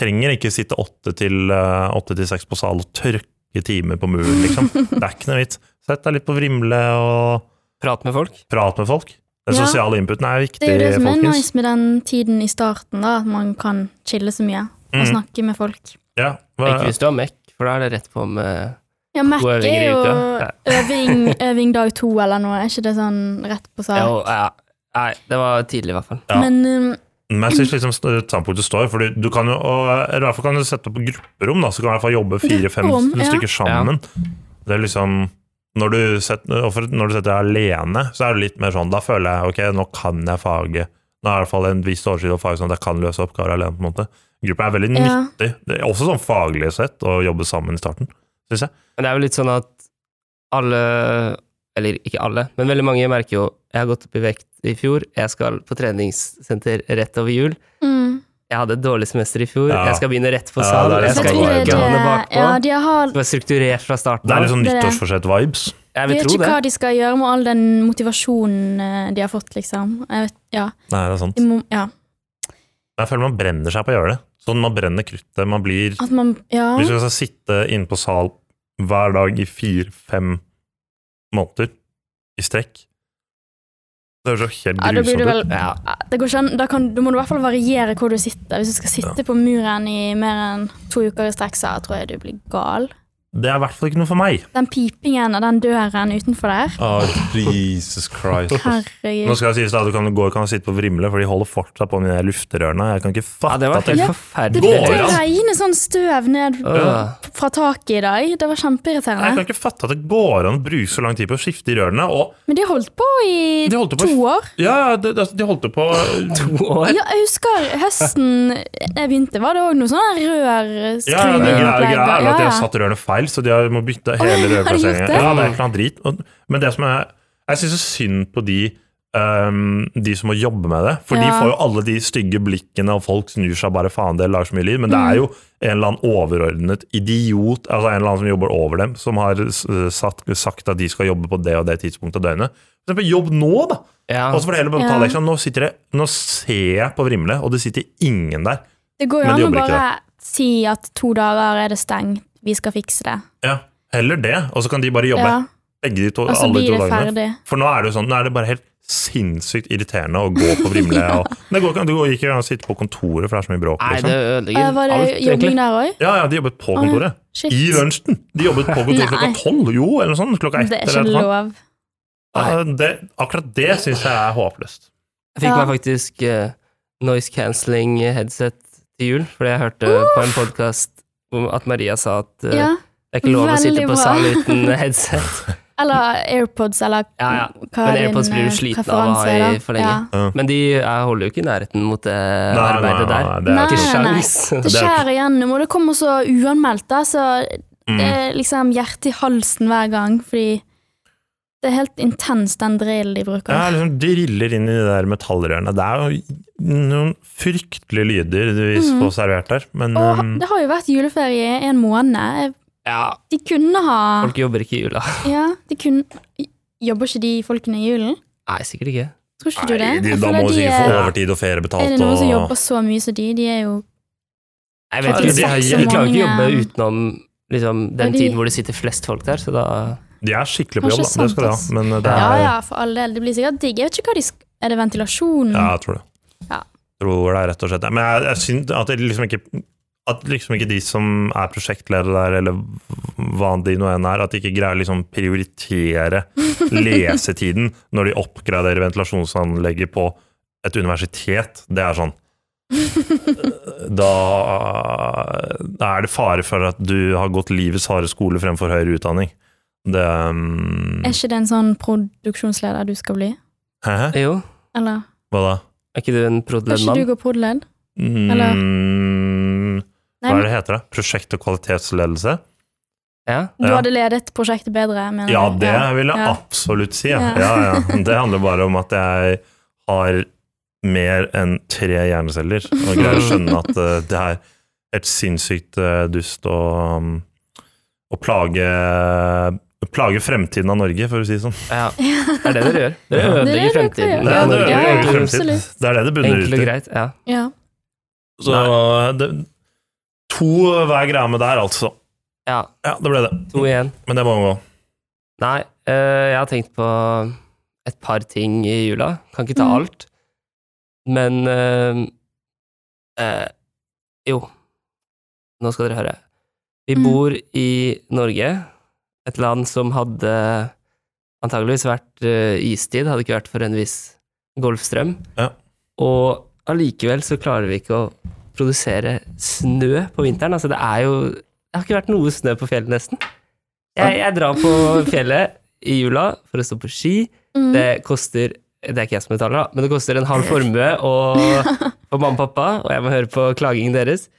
C: trenger ikke sitte åtte til eh, åtte til seks på sal og tørke timer på muren, liksom. Det er ikke noe vits. Sett deg litt på Vrimle og
A: Prat med folk.
C: prat med folk. Den
B: Ja.
C: sosiale inputen er viktig,
B: Det er jo det som er
C: folkens.
B: nice med den tiden i starten, da. At man kan chille så mye og
C: Mm.
B: snakke med folk.
C: Ja, hva,
A: Ikke hvis du har Mac, for da er det rett på med
B: Ja, Mac
A: God øving i
B: er jo
A: uka.
B: øving, øving dag to eller noe. Er ikke det sånn rett på sak?
A: Jo, ja. Nei, det var tidlig i hvert fall.
C: Ja.
B: Men um,
C: Men jeg syns liksom st- standpunktet står, for du kan jo og, eh, eller i hvert fall kan du sette opp grupperom, da, så kan du i hvert fall jobbe fire-fem
B: Grupperom, ja.
C: stykker sammen. Det er liksom når du, setter, og for, når du setter deg alene, så er det litt mer sånn Da føler jeg ok, nå kan jeg faget. Nå er det i hvert fall en viss oversikt over faget, sånn at jeg kan løse oppgaver alene. på en måte. Gruppa er
A: Mm.
C: veldig
B: Ja.
C: nyttig, det er også sånn faglig sett, å jobbe sammen i starten, syns jeg.
A: Men det er jo litt sånn at alle, eller ikke alle, men veldig mange merker jo jeg har gått opp i vekt i fjor, jeg skal på treningssenter rett over jul,
B: Mm.
A: jeg hadde et dårlig semester i fjor,
C: Ja.
A: jeg skal begynne rett på
C: Ja,
A: sal,
C: det er
A: jeg
C: litt
A: skal
C: sånn
A: ikke
C: vibe.
A: ligge hånda bakpå.
B: ja, de har
A: Det liksom- var strukturert fra starten
C: Det er
A: av.
C: litt sånn
B: Det er det.
C: nyttårsforsett-vibes.
A: Jeg
B: De
A: vil
B: vet
A: tro
B: ikke
A: det.
B: hva de skal gjøre med all den motivasjonen eh, de har fått, liksom. Jeg vet, ja.
C: Nei, det er sant.
B: De må, ja.
C: Men jeg føler man brenner seg på å gjøre det. Sånn Man brenner kruttet. Man blir
B: At man Ja.
C: Hvis du skal sitte inne på sal hver dag i fire-fem måneder i strekk Det høres jo helt
B: Ja, da blir
C: grusomt
B: det vel
C: ut.
A: Ja.
B: det går ikke an, da, kan, da må du i hvert fall variere hvor du sitter. Hvis du skal sitte på muren i mer enn to uker i strekk, så tror jeg du blir gal.
C: Det er i hvert fall ikke noe for meg.
B: Den pipingen av den døren utenfor der
C: Jesus Christ. Nå
B: Herregud.
C: skal jeg sies da, du kan gå kan sitte på Vrimle, for de holder fortsatt på med de der lufterørene. Jeg kan
A: ja,
C: ikke fatte
A: ah, det var
C: at jeg,
A: helt
B: Det
A: forferdelig.
C: Går
B: begynte å
C: an?
B: regne sånn støv ned
A: Åh.
B: fra taket i dag. Det var
C: jeg
B: kjempeirriterende.
C: kan ikke fatte at det går an å bruke så lang tid på å skifte i rørene. Og
B: Men de holdt på i
C: De holdt på i-
B: to år.
C: ja, de, de holdt jo på eh,
A: To år?
B: Ja, jeg husker høsten jeg begynte, var det òg noe sånn
C: Ja, ja, det
B: rørskryngeopplegg.
C: greia greia er vel at de har satt rørene feil, så de har- må bytte
B: Oi,
C: hele
B: har de
C: rørplasseringen.
B: gjort det?
C: Ja, det er ikke noe drit. Og- Men det som er, jeg syns synd på de ehm, de som må jobbe med det. For de
B: Ja.
C: får jo alle de stygge blikkene, og folk snur seg bare faen, det lager så mye liv. Men det
B: Mm.
C: er jo en eller annen overordnet idiot, altså en eller annen som jobber over dem, som har s- satt, sagt at de skal jobbe på det og det tidspunktet av døgnet. For eksempel jobb nå, da!
A: Ja.
C: Og så får de heller
B: Ja.
C: betale ekstra. Nå, sitter jeg, nå ser jeg på Vrimle, og det sitter ingen der.
B: Det går jo an
C: Men de
B: å
C: jobber ikke
B: bare si at to dager er det stengt, vi skal fikse det.
C: Ja, Heller det, og så kan de bare jobbe.
B: Ja,
C: Begge de to,
B: og så
C: alle de
B: blir
C: to
B: det
C: dagene.
B: ferdig.
C: For nå er det jo sånn, nå er det bare helt sinnssykt irriterende å gå på Vrimle.
B: Ja.
C: og, det går ikke an- det går ikke an å sitte på kontoret, for det er så mye bråk.
A: Nei,
C: Liksom.
A: det
B: Eh,
A: ødelegger
B: var det
A: alt,
B: jobbing
A: egentlig.
B: der òg?
C: Ja, ja, de jobbet på
B: Å, ja.
C: kontoret.
B: Shit.
C: I lunsjen! De jobbet på kontoret klokka
B: Nei.
C: tolv, jo, eller noe sånt. Klokka ett.
B: Det er
C: eller
B: ikke
C: noe sånt.
B: lov.
C: Ja, det, akkurat det syns jeg er håpløst.
A: Jeg fikk
B: Ja.
A: meg faktisk eh, noise cancelling headset til jul, fordi jeg hørte på en podkast at Maria sa at eh,
B: Ja.
A: det er ikke lov å sitte på
B: veldig bra.
A: sal uten headset.
B: Eller AirPods, eller
A: Ja, ja.
B: hva
A: Men
B: din,
A: AirPods blir du
B: eh,
A: sliten av å
B: preferanse
A: ha i
B: er, da.
A: for lenge.
B: Ja.
C: Ja.
A: Men de jeg holder jo ikke i nærheten mot det arbeidet der.
C: det er
B: Nei.
C: ikke
A: Ikke
C: sant.
A: sjans.
B: Det
C: Det er-
B: skjærer igjennom, og det kommer så uanmeldt, da, så det
C: Mm.
B: er liksom hjertet i halsen hver gang, fordi det er helt intens, den drillen de bruker.
C: Jeg liksom driller inn i de der metallrørene. Det er jo noen fryktelige lyder vi
B: Mhm.
C: får servert der, men
B: Og ha-
C: um,
B: det har jo vært juleferie i en måned. Eh,
A: Ja,
B: De kunne ha
A: folk jobber ikke i jula.
B: Ja, de kunne Jobber ikke de folkene i julen?
A: Nei, sikkert ikke.
B: Tror ikke du det?
C: Nei, de,
B: Jeg
C: da
B: føler
C: må du
B: de
C: sikkert få
B: er,
C: overtid og ferie betalt.
B: er det noen som
C: og-
B: jobber så mye som de? De er jo
A: Jeg vet
B: Klokken
A: ikke, de, har-
B: seks
A: de
B: om
A: klarer ikke å jobbe
B: morgenen.
A: utenom liksom,
B: Ja,
A: den
B: de-
A: tiden hvor det sitter flest folk der, så da
C: De er skikkelig på
B: Kanskje
C: jobb, da. det skal de ha.
B: sant,
C: Men eh, det er,
B: Ja
C: ja,
B: ja, for all del. Det blir sikkert digg. Jeg vet ikke hva de sk- Er det ventilasjon?
C: jeg tror det.
B: Ja.
C: Tror det er rett og slett. Men jeg, jeg syns at det liksom ikke at liksom ikke de som er prosjektledere der, eller hva de nå enn er, at de ikke greier liksom prioritere lesetiden når de oppgraderer ventilasjonsanlegget på et universitet. Det er sånn Da er det fare for at du har gått livets harde skole fremfor høyere utdanning. Det um,
B: Er ikke det en sånn produksjonsleder du skal bli?
C: Hæ? hæ?
A: Jo,
B: Eller
C: Hva da?
A: er ikke du en
B: kan
A: prodeledd
B: ikke du
A: mann?
B: gå prod.led? Eller-
C: Mm,
B: Nei,
C: hva er
B: men
C: det heter det? Prosjekt- og kvalitetsledelse?
A: Ja.
B: du
C: Ja.
B: hadde ledet prosjektet bedre, mener
C: Ja,
B: du?
C: det vil jeg
B: Ja.
C: absolutt si. Ja.
B: Ja.
C: Ja, ja. Det handler bare om at jeg har mer enn tre hjerneceller, og greier å skjønne at eh, det er et sinnssykt eh, dust å, um, å plage, plage fremtiden av Norge, for å si det sånn.
A: ja. Det er det dere gjør. Dere
B: Det
C: Ja.
B: er det
A: ødelegger
B: dere gjør.
A: fremtiden.
C: Det er det,
B: Ja,
C: det,
B: ja,
C: er fremtid.
B: absolutt.
C: det, er det det bunner
A: Enkelt
C: ut
A: og
C: i.
A: greit. Ja.
B: Ja.
C: Så det, to hver greie med der, altså.
A: ja.
C: Ja, det ble det.
A: To igjen.
C: Men det må gå.
A: Nei, eh, jeg har tenkt på et par ting i jula. Kan ikke ta
B: Mhm.
A: alt. Men eh, eh, Jo, nå skal dere høre. Vi
B: Mhm.
A: bor i Norge, et land som hadde antageligvis vært eh, istid, hadde ikke vært for en viss golfstrøm.
C: Ja.
A: Og allikevel så klarer vi ikke å produsere snø på vinteren. Altså, det er jo Det har ikke vært noe snø på fjellet, nesten. Jeg, jeg drar på fjellet i jula for å stå på ski.
B: Mm.
A: Det koster Det er ikke jeg som betaler, da, men det koster en halv formue og, og mamma og pappa, og jeg må høre på klagingen deres.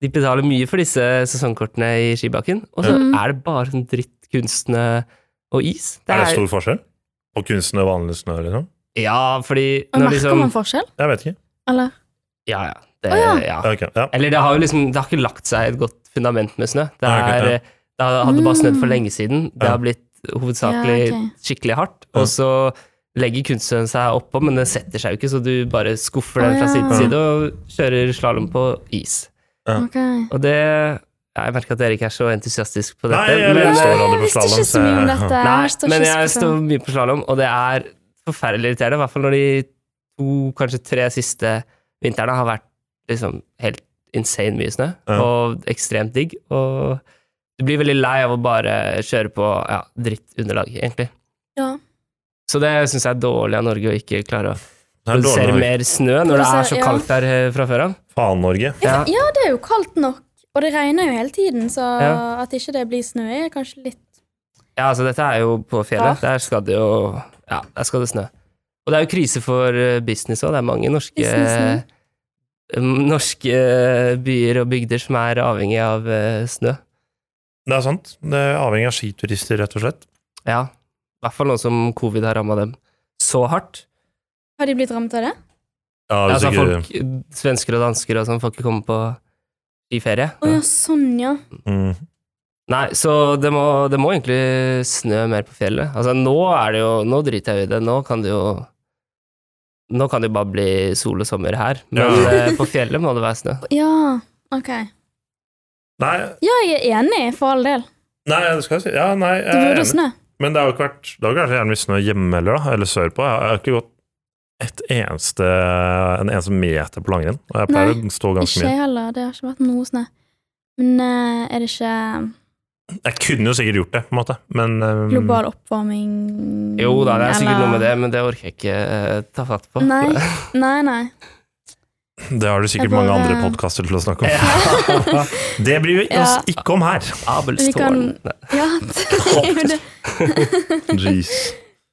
A: De betaler mye for disse sesongkortene i skibakken, og så
B: Mm.
A: er det bare sånn drittkunstsnø og is. Det
C: Er det
A: er-
C: stor forskjell på kunstsnø og vanlig snø? Liksom?
A: Ja, fordi
B: Og
A: når
B: merker
A: liksom
B: man forskjell,
C: Jeg vet ikke.
B: eller?
A: Ja, ja. Det,
B: Å, ja.
A: ja.
C: Ja, ok, ja.
A: Eller det har jo liksom Det har ikke lagt seg et godt fundament med snø. Det,
C: Nei, ok,
A: er,
C: ja.
A: det hadde det bare snødd for
B: Mm.
A: lenge siden. Det
C: Ja.
A: har blitt hovedsakelig
B: Ja, ok.
A: skikkelig hardt.
C: Ja.
A: Og så legger kunstsnøen seg oppå, men den setter seg jo ikke, så du bare skuffer den
B: Å,
A: fra
B: ja.
A: side til side og kjører slalåm på is.
B: Ok.
A: Og det ja, Jeg merker at dere ikke er så entusiastisk på
C: Nei,
A: dette,
C: jeg
A: men,
C: forstår
A: eh,
B: Jeg
C: aldri på
B: visste
C: slalom,
B: ikke så mye om
C: jeg-
B: dette.
A: nei,
B: Jeg står
A: men
B: ikke
A: jeg
B: så
A: står mye på slalåm, og det er forferdelig irriterende, i hvert fall når de to, kanskje tre siste vintrene har vært liksom helt insane mye snø,
C: Ja.
A: og ekstremt digg, og du blir veldig lei av å bare kjøre på ja, drittunderlag, egentlig.
B: Ja.
A: Så det syns jeg er dårlig av Norge å ikke klare å
C: Det er dårlig
A: produsere
C: Norge.
A: mer snø når det er
B: Produsere-
A: så
B: ja.
A: kaldt der eh, fra før av.
C: Faen, Norge.
A: Ja.
B: ja, det er jo kaldt nok, og det regner jo hele tiden, så
A: Ja.
B: at ikke det blir snø, er kanskje litt
A: Ja, altså dette er jo på fjellet.
B: Rart.
A: Der skal det jo Ja, der skal det snø. Og det er jo krise for eh, business òg. Det er mange norske eh,
B: Businessen.
A: m, Norske eh, byer og bygder som er avhengig av eh, snø.
C: Det er sant. Det er avhengig av skiturister, rett og slett.
A: Ja. I hvert fall nå som covid har ramma dem så hardt.
B: Har de blitt rammet av det?
C: Ja, hvis
A: Altså,
C: ikke-
A: folk, svensker og dansker og sånn får ikke komme på skiferie.
B: Å ja, sånn, ja.
C: Mm.
A: Nei, så det må, det må egentlig snø mer på fjellet. Altså nå er det jo Nå driter jeg i det. Nå kan det jo Nå kan det jo bare bli sol og sommer her, men
C: Ja.
A: eh, på fjellet må det være snø.
B: Ja, ok.
C: Nei,
B: Ja, jeg er enig, for all del.
C: nei, det skal jeg si. Ja, nei, jeg
B: Det
C: er
B: burde
C: enig.
B: snø.
C: Men det har jo ikke vært Det har ikke vært så gjerne mye snø hjemme heller, da, eller sørpå. Jeg har ikke gått et eneste, en eneste meter på langrenn. Og jeg pleier
B: Nei,
C: å stå ganske
B: Ikke
C: mye.
B: jeg heller, det har ikke vært noe snø. Men eh, er det ikke
A: Mm.
C: Jeg kunne jo sikkert gjort det, på en måte, men um,
B: global oppvarming
A: Jo da, det er sikkert
B: eller-
A: noe med det, men det orker jeg ikke eh, ta fatt på.
B: Nei, nei. nei.
C: det har du
B: Jeg
C: sikkert
B: bare-
C: mange andre podkaster til å snakke om. Det bryr vi oss
B: Ja.
C: ikke om her!
B: Vi kan-
A: Abelstårn. Nei.
B: Ja, det er jo det.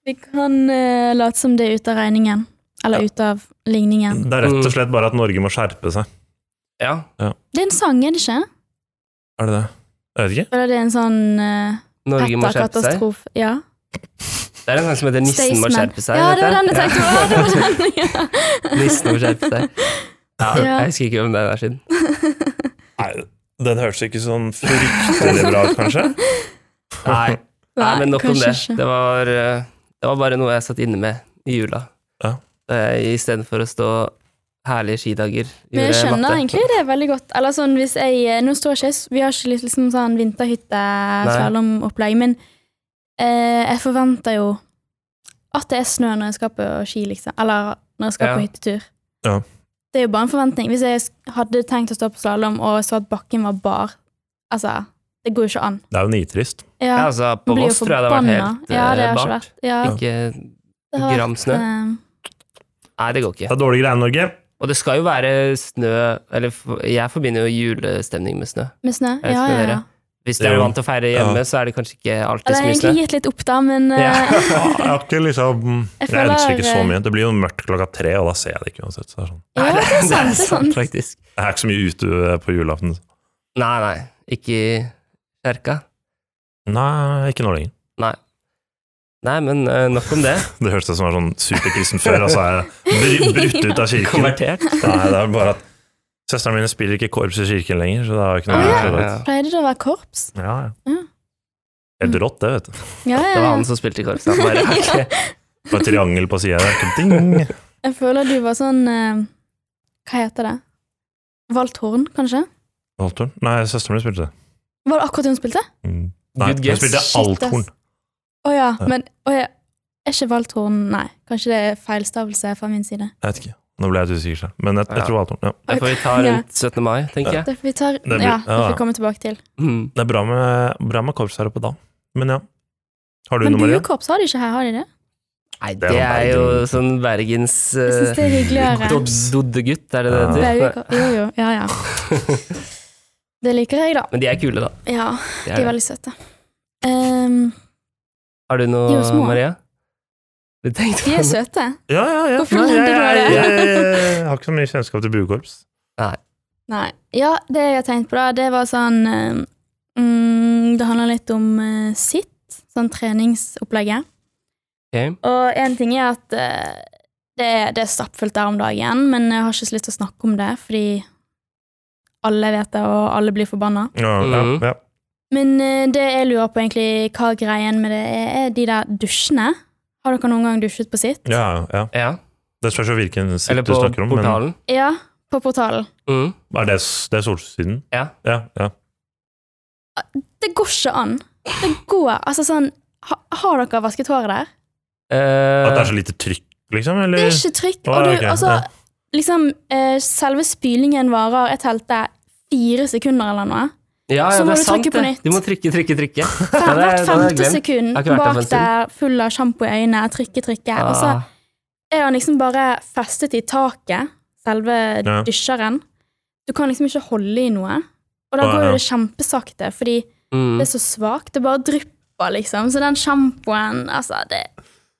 B: Vi kan eh, late som det er ute av regningen. Eller ute av ligningen.
C: Det er rett og slett bare at Norge må skjerpe seg.
A: Ja.
B: Det er en sang, er det ikke?
C: Er det det? Jeg vet ikke.
B: Eller det er en sånn uh,
A: Norge må skjerpe seg.
B: katastrofe Ja.
A: Det er en sang som heter 'Nissen må
B: Staysman.
A: skjerpe seg'.
B: Ja,
A: vet
B: det var
A: jeg.
B: den jeg tenkte på! Det var den, ja.
A: Nissen må skjerpe seg. Ja,
B: Ja.
A: Jeg husker ikke hvem det er siden.
C: Nei, den hørtes ikke sånn fryktelig bra ut, kanskje?
A: Nei, Nei, men nok om
B: kanskje
A: det.
B: ikke.
A: Det var, eh, det var bare noe jeg satt inne med i jula.
C: Ja.
A: Eh, Istedenfor å stå herlige skidager.
B: Men jeg
A: gjorde
B: skjønner
A: matte.
B: egentlig det veldig godt. Eller sånn hvis jeg Nå står ikke jeg s- Vi har ikke liksom sånn vinterhytte-slalåmopplegg, men eh, jeg forventer jo at det er snø når jeg skal på ski, liksom. Eller når jeg skal
A: Ja.
B: på hyttetur.
C: Ja.
B: Det er jo bare en forventning. Hvis jeg s- hadde tenkt å stå på slalåm og så at bakken var bar Altså, det går jo ikke an.
C: Det er jo nitrist.
B: Ja,
A: Ja, altså, på
B: blir jo
A: Voss tror jeg det har vært
B: forbanna.
A: helt
B: ja,
A: eh,
B: det har ikke
A: bart.
B: vært. Ja,
A: Ikke
B: det har
A: gram
B: vært,
A: snø.
B: eh,
A: Nei, det går
C: Det
A: ikke.
C: er dårlige greier, Norge.
A: Og det skal jo være snø Eller f- jeg forbinder jo julestemning med snø.
B: med snø.
A: Jeg
B: Ja,
A: husker
B: ja,
A: dere.
B: ja.
A: Hvis dere
C: Jo.
A: er vant til å feire hjemme,
C: Ja.
A: så er det kanskje ikke alltid
B: Eller
A: så mye
B: egentlig
A: snø.
B: gitt litt opp, da, men
A: Ja.
B: eh,
C: Jeg har ikke liksom
B: Jeg
C: Jeg,
B: føler-
C: ønsker ikke så mye. Det blir jo mørkt klokka tre, og da ser jeg det ikke uansett. Så det er sånn.
B: ja, det er sant. Det er sant.
A: faktisk.
C: Jeg er ikke så mye ute eh, på julaften.
A: Nei, nei. Ikke i kjerka.
C: Nei, ikke nå lenger.
A: Nei, men eh, nok om det.
C: Det hørtes ut som jeg var sånn superkristen før, og så er jeg br brutt ut av kirken. Nei,
A: Konvertert.
C: det er bare at Søstrene mine spiller ikke korps i kirken lenger, så det har jo ikke noe
B: Å,
C: med
B: ja.
C: det å gjøre.
B: Pleide det å være korps?
C: Ja, ja.
B: Ja.
C: Helt rått, det, vet du.
B: Ja,
A: Det
B: ja,
A: var
B: ja.
A: han som spilte i korps. Han bare har ikke
C: Og et triangel på sida der. Ding!
B: Jeg føler du var sånn eh, Hva heter det? Valgt horn, kanskje?
C: Althorn? Nei, søsteren min spilte det.
B: Var det akkurat det hun spilte?
C: Mm. Nei,
A: Good
C: hun
A: guess.
C: spilte
B: Shit, ass.
C: althorn.
B: Å ja,
C: Ja.
B: men å ja. Er ikke valgt horn Nei, kanskje det er feilstavelse fra min side.
C: Jeg vet ikke. Nå ble jeg litt usikker selv, men jeg,
A: Ja.
C: jeg tror althorn. Ja.
A: Det får vi ta rundt 17. mai, tenker jeg.
B: Det får vi tar,
C: blir-
B: ja, det får
C: ja, ja.
B: vi komme tilbake til.
A: Mm.
C: Det er bra med, bra med korps her oppe da. Men ja. Har du
B: Men
C: noe, Maria?
B: buekorps har de ikke her, har de det?
A: Nei,
C: Det
A: det
C: var
A: er
C: Bergen.
A: jo sånn Bergens eh,
B: Jeg syns det er hyggeligere.
A: Dod- Doddegutt, er det det
C: Ja.
A: det
B: Bauge-
A: heter?
B: Jo, jo. Ja, ja. Det liker jeg, da.
A: Men de er kule, da.
B: Ja,
A: De
B: de
A: er
B: er
A: det.
B: veldig søte. Ehm,
A: Har du
B: De er
A: noe,
B: jo små.
A: Maria? Du tenkte
B: de er søte.
C: Ja, ja, ja.
B: Hvorfor
C: Nei,
B: nevnte
C: jeg,
B: du bare
C: jeg,
B: det?
C: jeg, jeg har ikke så mye kjennskap til buekorps.
B: Nei. Ja, det jeg har tenkt på, da, det var sånn ehm, mm, Det handler litt om eh, sitt, sånn treningsopplegget.
A: Ok.
B: Og en ting er at eh, det, er- det er stappfullt der om dagen, men jeg har ikke så lyst til å snakke om det, fordi alle vet det, og alle blir forbanna.
C: Ja, ja,
A: Mhm.
C: ja.
B: Men eh, det jeg lurer på egentlig, hva greien med det er, er de der dusjene. Har dere noen gang dusjet på sitt?
C: ja, ja.
A: Ja.
C: Det spørs jo hvilken sitt
A: Eller
C: du
A: på
C: snakker om. Men
A: portalen.
B: Ja, på portalen.
A: Mm.
C: er det, s- det er solsiden?
A: Ja.
C: Ja, ja.
B: Det går ikke an. Det går, altså sånn, ha, har dere vasket håret der?
C: At det
A: Eh,
C: er så lite trykk, liksom?
B: Det
C: Eller?
B: er ikke trykk.
C: Å,
B: Og du,
C: ok,
B: altså,
C: ja.
B: liksom, eh, selve spylingen varer, jeg telte, fire sekunder eller noe.
A: Eh, ja,
B: Så
A: ja,
B: må
A: det
B: du
A: er sant,
B: trykke på
A: det.
B: nytt.
A: Du må trykke, trykke, trykke.
B: Fem,
A: Ja, det-
B: hvert
A: det hadde jeg
B: femte
A: glemt.
B: sekund
A: har ikke vært der
B: bak
A: på en stund.
B: der, full av sjampo i øynene, trykke, trykke. Og så
A: Ah,
B: er han liksom bare festet i taket, selve
C: Ja.
B: dysjeren. Du kan liksom ikke holde i noe. Og da
C: Å,
B: går
C: ja.
B: jo det kjempesakte, fordi
A: mm.
B: det er så svakt. Det bare drypper, liksom. Så den sjampoen, altså, det,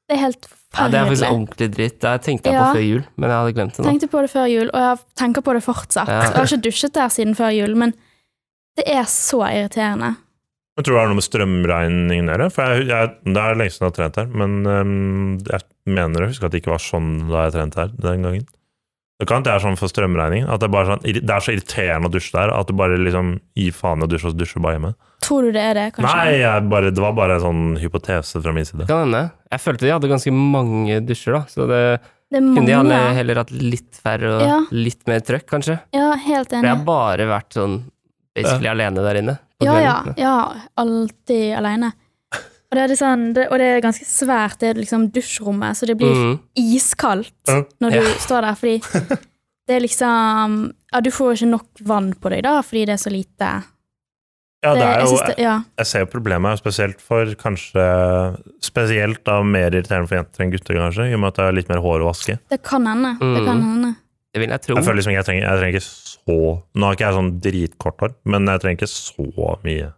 B: det er helt
A: Ja, det er faktisk
B: forferdelig.
A: ordentlig dritt. Det her tenkte jeg
B: Ja.
A: på før jul, men jeg hadde glemt det nå.
B: Tenkte på det før jul, og jeg tenker på det fortsatt.
A: Ja.
B: Jeg har ikke dusjet der siden før jul, men det er så irriterende.
C: Jeg tror det har noe med strømregningen å gjøre. For jeg, jeg, det er lenge siden jeg har trent her, men øhm, jeg mener å huske at det ikke var sånn da jeg trente her den gangen. Det kan hende det er sånn for strømregningen. At det, er bare sånn, irri- det er så irriterende å dusje der at du bare liksom gir faen i å dusje og så dusjer du bare hjemme.
B: Tror du det er det, kanskje?
C: Nei, jeg bare, det var bare en sånn hypotese fra min side.
A: Kan hende. Jeg følte de hadde ganske mange dusjer, da, så det
B: Det er
A: kunne de
B: mange.
A: alle heller hatt litt færre og
B: Ja.
A: litt mer trøkk, kanskje.
B: Ja, helt
A: For jeg
B: enig.
A: har bare vært sånn basically alene der inne. på
B: Ja, ja.
A: kvelden.
B: ja alltid aleine. Og det, er litt sånn, det, og det er ganske svært, det er liksom dusjrommet, så det blir
A: Mm.
B: iskaldt
C: Ja.
B: når du
A: Ja.
B: står der, fordi det er liksom Ja, du får jo ikke nok vann på deg, da, fordi det er så lite.
C: Ja, det er
B: jeg
C: jo,
B: synes det, ja.
C: jeg ser jo problemet, her, spesielt for kanskje Spesielt da mer irriterende for jenter enn gutter, kanskje, i og med at det er litt mer hår å vaske.
B: Det kan hende. Det
A: Mm.
B: kan hende.
A: Det vil jeg tro.
C: Jeg føler liksom ikke jeg trenger, jeg trenger ikke så Nå har ikke jeg sånn dritkort hår, men jeg trenger ikke så mye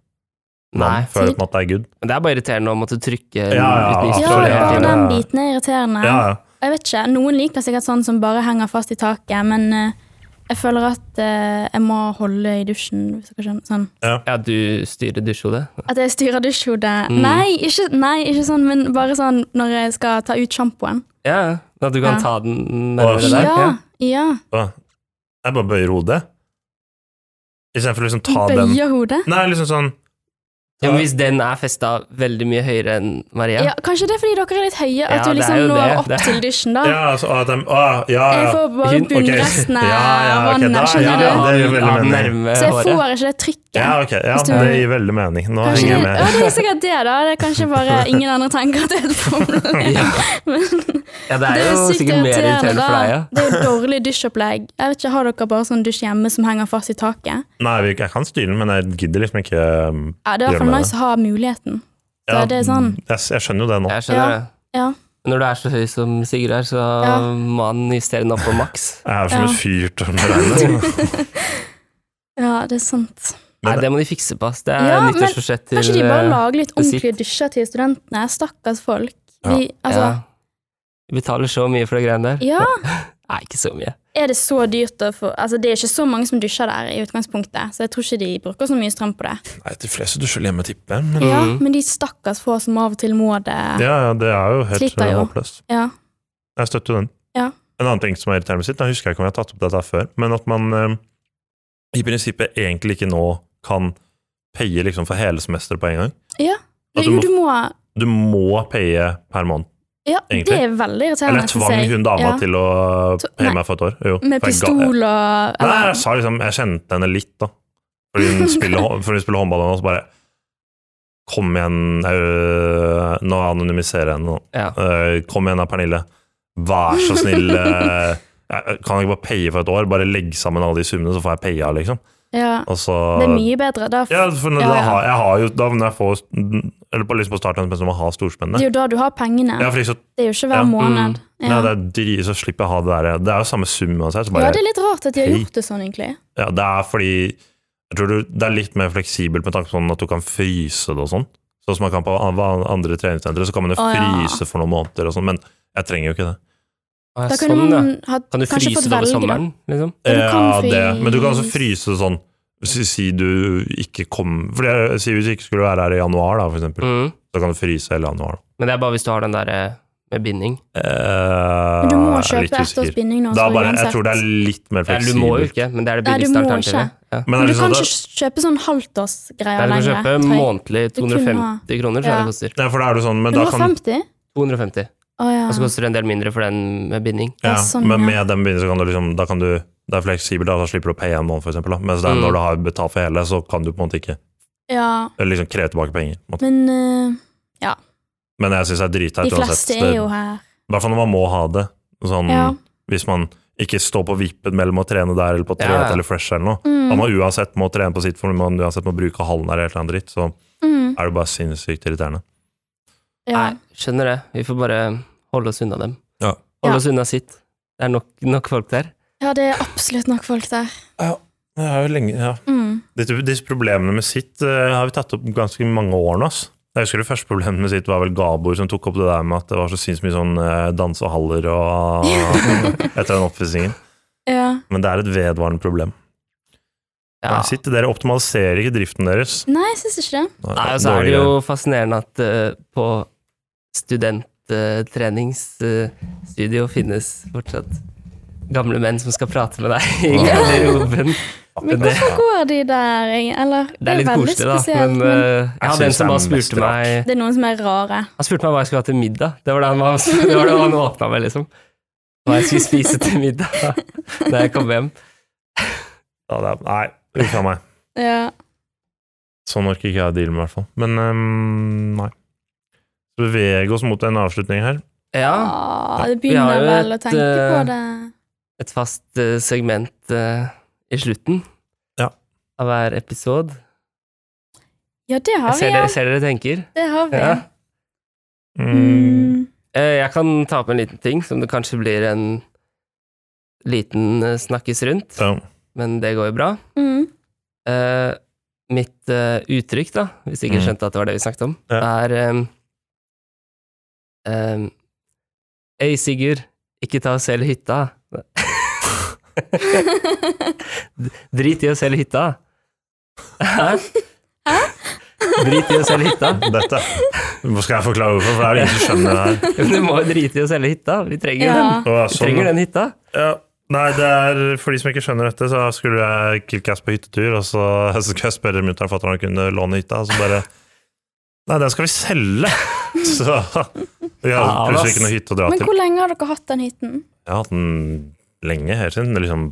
A: Nei,
C: vann før at det er good.
A: men det er bare irriterende å måtte trykke
C: Ja, ja,
A: uten
B: Ja,
A: isprøyte
C: absolutt.
A: hele
B: bare
A: tiden.
B: den biten er irriterende.
C: Ja, ja.
B: Og Jeg vet ikke, Noen liker sikkert sånn som bare henger fast i taket, men eh, jeg føler at eh, jeg må holde i dusjen. Hvis dere skjønner. Sånn.
A: Ja, du styrer dusjhodet.
B: At jeg styrer dusjhodet.
A: Mm.
B: Nei, ikke, nei, ikke sånn, men bare sånn når jeg skal ta ut sjampoen.
A: Ja, ja. At du kan
B: Ja.
A: ta den nærmere
C: Det
A: deg.
B: Ja, ja.
C: Hva? Jeg bare bøyer hodet. Istedenfor å liksom ta den
B: Bøyer hodet.
C: Nei, liksom sånn
A: Ja, men hvis den er festa veldig mye høyere enn Maria,
B: Ja, kanskje det er fordi dere er litt høye, at
A: Ja, det
B: du
A: er
B: liksom
A: jo
B: når
A: det.
B: opp
A: Det-
B: til dusjen, da.
C: Ja, altså at de Å, ja,
B: Jeg
C: ja.
B: får bare
A: Hun- ok.
B: bunnresten av
C: Ja, ja, ok, da-
B: vannet,
A: ja,
B: skjønner
C: ja,
B: du?
C: det gir veldig
A: Ja,
C: mening.
A: nærme
B: Så jeg
A: håret.
B: får ikke det trykket.
C: Ja, ok. Ja,
B: Hvis du-
C: det gir veldig mening. Nå
B: Kanskje,
C: henger
B: ja,
C: jeg med.
B: det er sikkert det, da. Det er kanskje bare ingen andre tenker at det er et problem.
A: Ja. ja, det er jo sikkert mer irriterende for deg, ja.
B: Det er jo dårlig dusjopplegg. Jeg vet ikke, Har dere bare sånn dusj hjemme som henger fast i taket?
C: Nei, vi- jeg kan styre den, men jeg gidder liksom ikke um,
B: Ja, Det er i hvert
C: Gjør
B: fall
C: med
B: nice å ha muligheten. Så
C: ja,
B: det er sånn,
C: jeg, jeg skjønner jo det nå.
A: Jeg skjønner
B: Ja,
A: det.
B: ja.
A: Når du er så høy som Sigurd er, så
B: Ja.
A: må han justere den opp på maks.
C: Jeg er som
B: Ja.
C: et fyrtårn med regnet.
B: Ja, det er sant.
A: Nei,
C: Men-
A: det må de fikse på, ass. Det er
B: Ja, men
A: nyttårsforsett til
B: Kanskje de bare
A: eh,
B: lager litt
A: det sitt.
B: ordentlige dusjer til studentene? Stakkars folk.
C: Ja.
B: Vi, altså,
A: ja. Vi betaler så mye for de greiene der.
B: ja.
A: Nei, ikke så mye.
B: Er det så dyrt å få Altså, det er ikke så mange som dusjer der i utgangspunktet, så jeg tror ikke de bruker så mye strøm på det.
C: Nei, de fleste dusjer hjemme, tipper jeg. Men
B: Ja, Men de stakkars få som av og til må det.
C: Mm. ja, ja, det er jo helt
B: Sliter
C: eh,
B: jo.
C: håpløst.
B: Ja.
C: Jeg støtter jo den.
B: Ja.
C: En annen ting som er irriterende med sitt, jeg husker jeg ikke om jeg har tatt opp dette her før, men at man eh, i prinsippet egentlig ikke nå kan paye liksom for hele semesteret på en gang. At du
B: Jo,
C: må-
B: du må
C: Du må paye per måned.
B: Ja, det
C: Egentlig.
B: er veldig irriterende.
C: Eller jeg
B: synes
C: tvang
B: jeg.
C: hun dama
B: Ja.
C: til å
B: To-
C: paye
B: nei.
C: meg for et år. Jo,
B: Med
C: for jeg ga-
B: pistol og
C: Nei,
B: eller-
C: jeg sa liksom Jeg kjente henne litt, da. Fordi hun spiller, hå- fordi hun spiller håndball, og så bare Kom igjen, øh, nå anonymiserer jeg henne nå.
A: Ja.
C: Øh, kom igjen da, Pernille. Vær så eh, snill. øh, jeg kan ikke bare paye for et år? Bare legg sammen alle de summene, så får jeg paya, liksom.
B: Ja.
C: Og så
B: Det er mye bedre. Da,
C: ja, for når,
B: Ja, ja.
C: Da har, jeg har jo da når jeg får Eller på, liksom på starten av semesteret må jeg ha
B: det
C: storspennende.
B: er jo da du har pengene.
C: Ja, for ikke så,
B: Det er jo ikke
C: Ja,
B: hver
C: mm.
B: måned.
C: nei,
B: Ja.
C: det er dri, så slipper jeg å ha det der Det er jo samme sum uansett. Så bare,
B: ja, det er litt rart at de har
C: Hei.
B: gjort det sånn, egentlig.
C: Ja, det er fordi jeg tror du, det er litt mer fleksibelt med tanke på sånn at du kan fryse det og sånn. Sånn som man kan på an- hva- andre treningssentre, så kan man jo
B: Å, ja.
C: fryse for noen måneder og sånn, men jeg trenger jo ikke det.
A: Ah,
B: Da kunne
A: sånn, ja.
B: man ha
A: Kan du
B: kanskje
A: fryse
B: fått
A: det over
B: velge. da.
A: sommeren, liksom?
B: Ja, du kan
C: Ja, det. Men du kan også
B: fryse.
C: fryse det sånn Si, si du ikke kom For det- si hvis du ikke skulle være her i januar, da, for eksempel.
A: Mm.
C: Så kan du fryse hele januar.
A: Men det er bare hvis du har den der eh, med binding.
C: Eh,
B: Men du må
C: jeg er litt
B: kjøpe ett års
C: usikker.
B: binding nå.
C: Det er
B: så
C: bare, jeg
B: uansett.
C: tror det er litt mer
A: Ja, du må jo
C: fleksibelt.
A: ikke, men det er det
B: Nei, du
A: billigste
B: må
A: alternativet. Ja.
C: Men
B: Men
C: er
B: du
C: det
B: kan
C: sånn at-
B: ikke kjøpe sånn
A: Nei,
B: halvtårsgreier
A: du kan
B: lenger.
A: kjøpe
B: tror jeg.
A: månedlig
B: Du kunne ha-
A: 250 kroner, tror jeg
B: Ja.
A: det koster.
C: Ja, for det er det sånn, men da kan
B: 150?
A: 250.
B: Å ja.
A: Og så koster det en del mindre for den med binding.
B: Ja,
C: Ja,
B: sånn,
C: men
B: ja.
C: med den begynnelsen kan du liksom Da kan du det er fleksibelt, da, da slipper du å paye en måned, for eksempel. Da. Mens det er
A: Mm.
C: når du har betalt for hele, så kan du på en måte ikke
B: ja.
C: eller liksom kreve tilbake penger. på en måte.
B: Men eh,
C: Men jeg syns det er
B: de
C: dritteit uansett.
B: fleste er jo
C: Det-
B: her.
C: I hvert fall når man må ha det. Sånn,
B: Ja.
C: Hvis man ikke står på vippen mellom å trene der eller på
A: Ja,
C: treet
A: ja.
C: eller fresh eller noe. Da
B: Mm.
C: man uansett må trene på sitt, for man uansett må bruke hallen der eller noe dritt, så
B: Mm.
C: er det bare sinnssykt irriterende.
B: Ja.
A: Nei, skjønner det. Vi får bare holde oss unna dem.
C: Ja.
A: Holde
B: Ja.
A: oss unna sitt. Det er nok, nok folk der.
B: ja, det er absolutt nok folk der.
C: Det er jo lenge, ja.
B: Mm.
C: Disse, disse problemene med sitt eh, har vi tatt opp ganske mange år nå. ass. Jeg husker det første problemet med sitt var vel Gabor som tok opp det der med at det var så sinnssykt mye sånn eh, dans og haller og etter den oppvisningen.
B: Ja.
C: Men det er et vedvarende problem.
A: Ja.
C: Men Sitt, dere optimaliserer ikke driften deres.
B: Nei, jeg syns ikke det.
A: Nei, og så er det jo fascinerende at eh, på studenttreningsstudio finnes fortsatt gamle menn som skal prate med deg i
C: Wow.
A: garderoben.
B: Men
A: det-
B: hvorfor går de der, egentlig? Eller,
A: Det er litt
B: veldig
A: koselig, da.
B: spesielt,
A: Men
B: men
A: eh, jeg hadde en
C: synes det
A: som
C: er
A: bare
C: mest
A: spurte
C: rart.
A: meg
B: det er noen som er rare.
A: Han spurte meg hva jeg skulle ha til middag. Det var det han, var, det var det han åpna med, liksom. Hva jeg skulle spise til middag da jeg kom hjem.
C: Ja, det er, nei, uff a meg.
B: Ja.
C: Sånn orker ikke jeg å deale med, i hvert fall. Men ehm, nei. Så Bevege oss mot en avslutning her.
A: Ja,
B: Ah, det
A: Vi har
B: begynner
A: jo
B: vel å
A: et,
B: tenke
A: eh,
B: på det.
A: et fast eh, segment eh, i slutten
C: Ja.
A: av hver episode.
B: Ja, det
A: Jeg
B: har vi,
A: ser,
B: ja.
A: dere, ser dere tenker.
B: Det har vi.
A: Ja.
C: Mm.
B: Mm.
A: Eh, Jeg kan ta opp en liten ting, som det kanskje blir en liten eh, snakkes rundt,
C: Ja.
A: men det går jo bra.
B: Mm.
A: Eh, mitt eh, uttrykk, da, hvis ikke
C: Mm.
A: skjønte at det var det vi snakket om,
C: Ja.
A: er um, um, Ei, Sigurd, ikke ta og selg hytta. Drit i å selge hytta. Hæ? Drit i å selge hytta.
C: Dette Hva skal jeg forklare hvorfor, for det er det ingen som skjønner det her.
A: Men Du må jo drite i å selge hytta. Vi trenger jo den.
B: Ja.
C: Å,
A: Vi
C: sånn, ja.
A: trenger den hytta.
C: Ja. Nei, det er for de som ikke skjønner dette, så skulle jeg Killcast på hyttetur, og så, så skulle jeg spørre mutter'n og fatter'n om han kunne låne hytta, og så bare Nei, den skal vi selge! Så vi har
A: Ja,
C: plutselig
A: ass.
C: ikke noe hytte å dra
B: Men
C: til.
B: hvor lenge har dere hatt den hytten?
C: Jeg har hatt den lenge, helt siden det liksom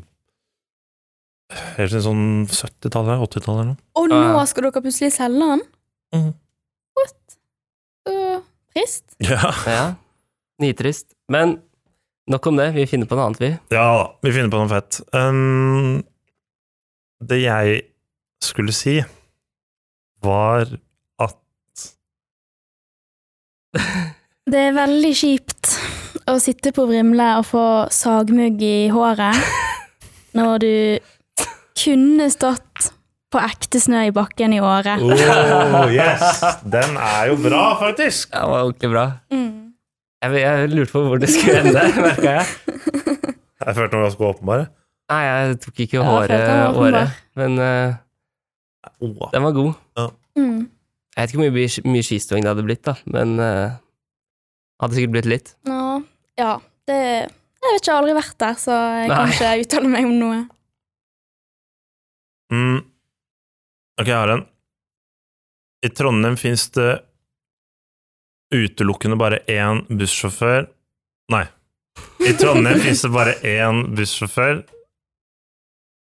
C: Helt siden sånn 70-tallet, 80-tallet eller noe.
B: Og
A: Ja, ja.
B: nå skal dere plutselig selge den?
A: Mm.
C: Mhm.
B: What? Så trist.
C: Ja.
A: Ja. Nitrist. Men nok om det. Vi finner på noe annet, vi.
C: ja da, vi finner på noe fett. Um, det jeg skulle si, var
B: Det er veldig kjipt å sitte på Vrimle og få sagmugg i håret når du kunne stått på ekte snø i bakken i året.
C: Oh, yes! Den er jo bra, faktisk!
A: Ja, det var ordentlig bra.
B: Mm.
A: Jeg, jeg lurte på hvor det skulle ende, merka jeg.
C: Jeg følte noe ganske åpenbare.
A: Nei, jeg tok ikke
B: Ja, for
A: håret,
B: at den var åpenbar.
A: året, men eh,
C: Åh.
A: den var god.
B: Mm.
A: Jeg vet ikke hvor mye, bi- mye skiståing det hadde blitt, da, men eh, hadde sikkert blitt litt.
B: Nå, ja, det Jeg vet ikke, jeg har aldri vært der, så jeg kan
A: Nei.
B: ikke uttale meg om noe.
C: Mm. Ok, jeg har en. I Trondheim finnes det utelukkende bare én bussjåfør Nei. I Trondheim finnes det bare én bussjåfør.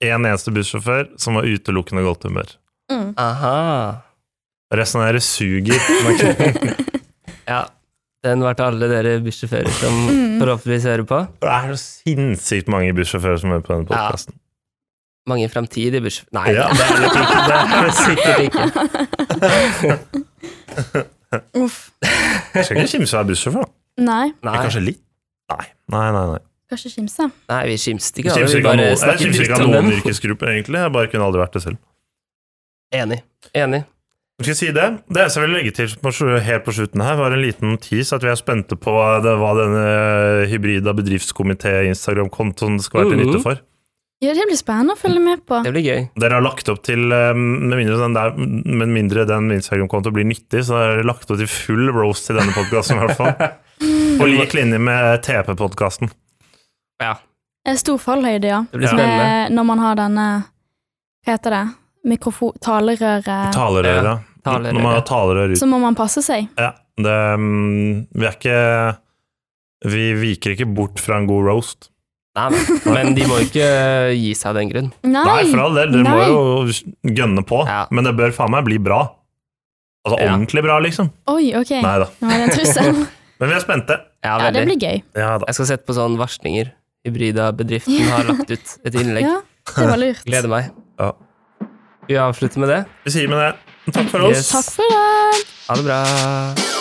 C: Én eneste bussjåfør som har utelukkende godt humør.
B: Mm.
A: Aha.
C: Resten av dere suger.
A: Ja. Den var til alle dere bussjåfører som
B: Mm.
A: forhåpentligvis hører på.
C: Det er så sinnssykt mange bussjåfører som er på denne podkasten.
A: mange fremtidige bursdager Nei,
C: Ja,
A: det er det nok ikke. Det er det sikkert ikke.
B: Uff.
C: Skal ikke kimse av å være bussjåfør, da.
B: Nei,
A: Nei,
C: Kanskje litt? Nei, nei, nei. nei.
B: skal ikke kimse.
A: nei vi kimste ikke.
C: Jeg
A: av det, Vi bare
C: kimser ikke av noen- jeg
A: snakker
C: kimser ikke
A: dritt
C: av
A: om
C: noen
A: dem.
C: yrkesgrupper, egentlig. Jeg bare kunne aldri vært det selv.
A: Enig. Enig.
C: Skal jeg si det? Det eneste jeg vil legge til på, slu- helt på slutten her, var en liten tease at vi er spente på hva det- hva denne hybrida bedriftskomité-instagram-kontoen skal være til
A: Mhm.
C: nytte for.
B: Ja, det blir spennende å følge med på.
A: Det blir gøy.
C: Dere har lagt opp til, eh, med mindre den, der- med mindre den Instagram-kontoen blir nyttig, så har dere lagt opp til full roast i denne podkasten, i hvert fall. På lik linje med TP-podkasten.
A: Ja,
B: Det er stor fallhøyde, ja.
A: det blir
C: Ja.
A: spennende.
B: Med, når man har denne Hva heter det? Mikrofon... Talerøret.
C: Talerøre.
A: talerøre.
C: Når man har talerør ut.
B: Så må man passe seg.
C: Ja, det, mm, vi er ikke Vi viker ikke bort fra en god roast.
A: Nei, nei. Men de må ikke eh, gi seg av den grunn.
B: Nei!
C: Nei, for all del, dere må
B: Nei.
C: jo gønne på,
A: Ja.
C: men det bør faen meg bli bra. Altså
A: Ja.
C: ordentlig bra, liksom.
B: Oi, ok.
C: Nei da.
B: Nå er det en trussel.
C: Men vi er spente.
A: Ja,
B: Ja, det
A: veldig.
B: blir gøy.
C: Ja da.
A: Jeg skal sette på sånn varslinger. Hybrida bedriften har lagt ut et innlegg.
B: Ja, det var lurt.
A: Gleder meg.
C: Ja.
A: Vi avslutter med det.
C: Vi sier med det. Takk for oss.
A: Yes.
B: Takk for i dag.
A: Ha det bra.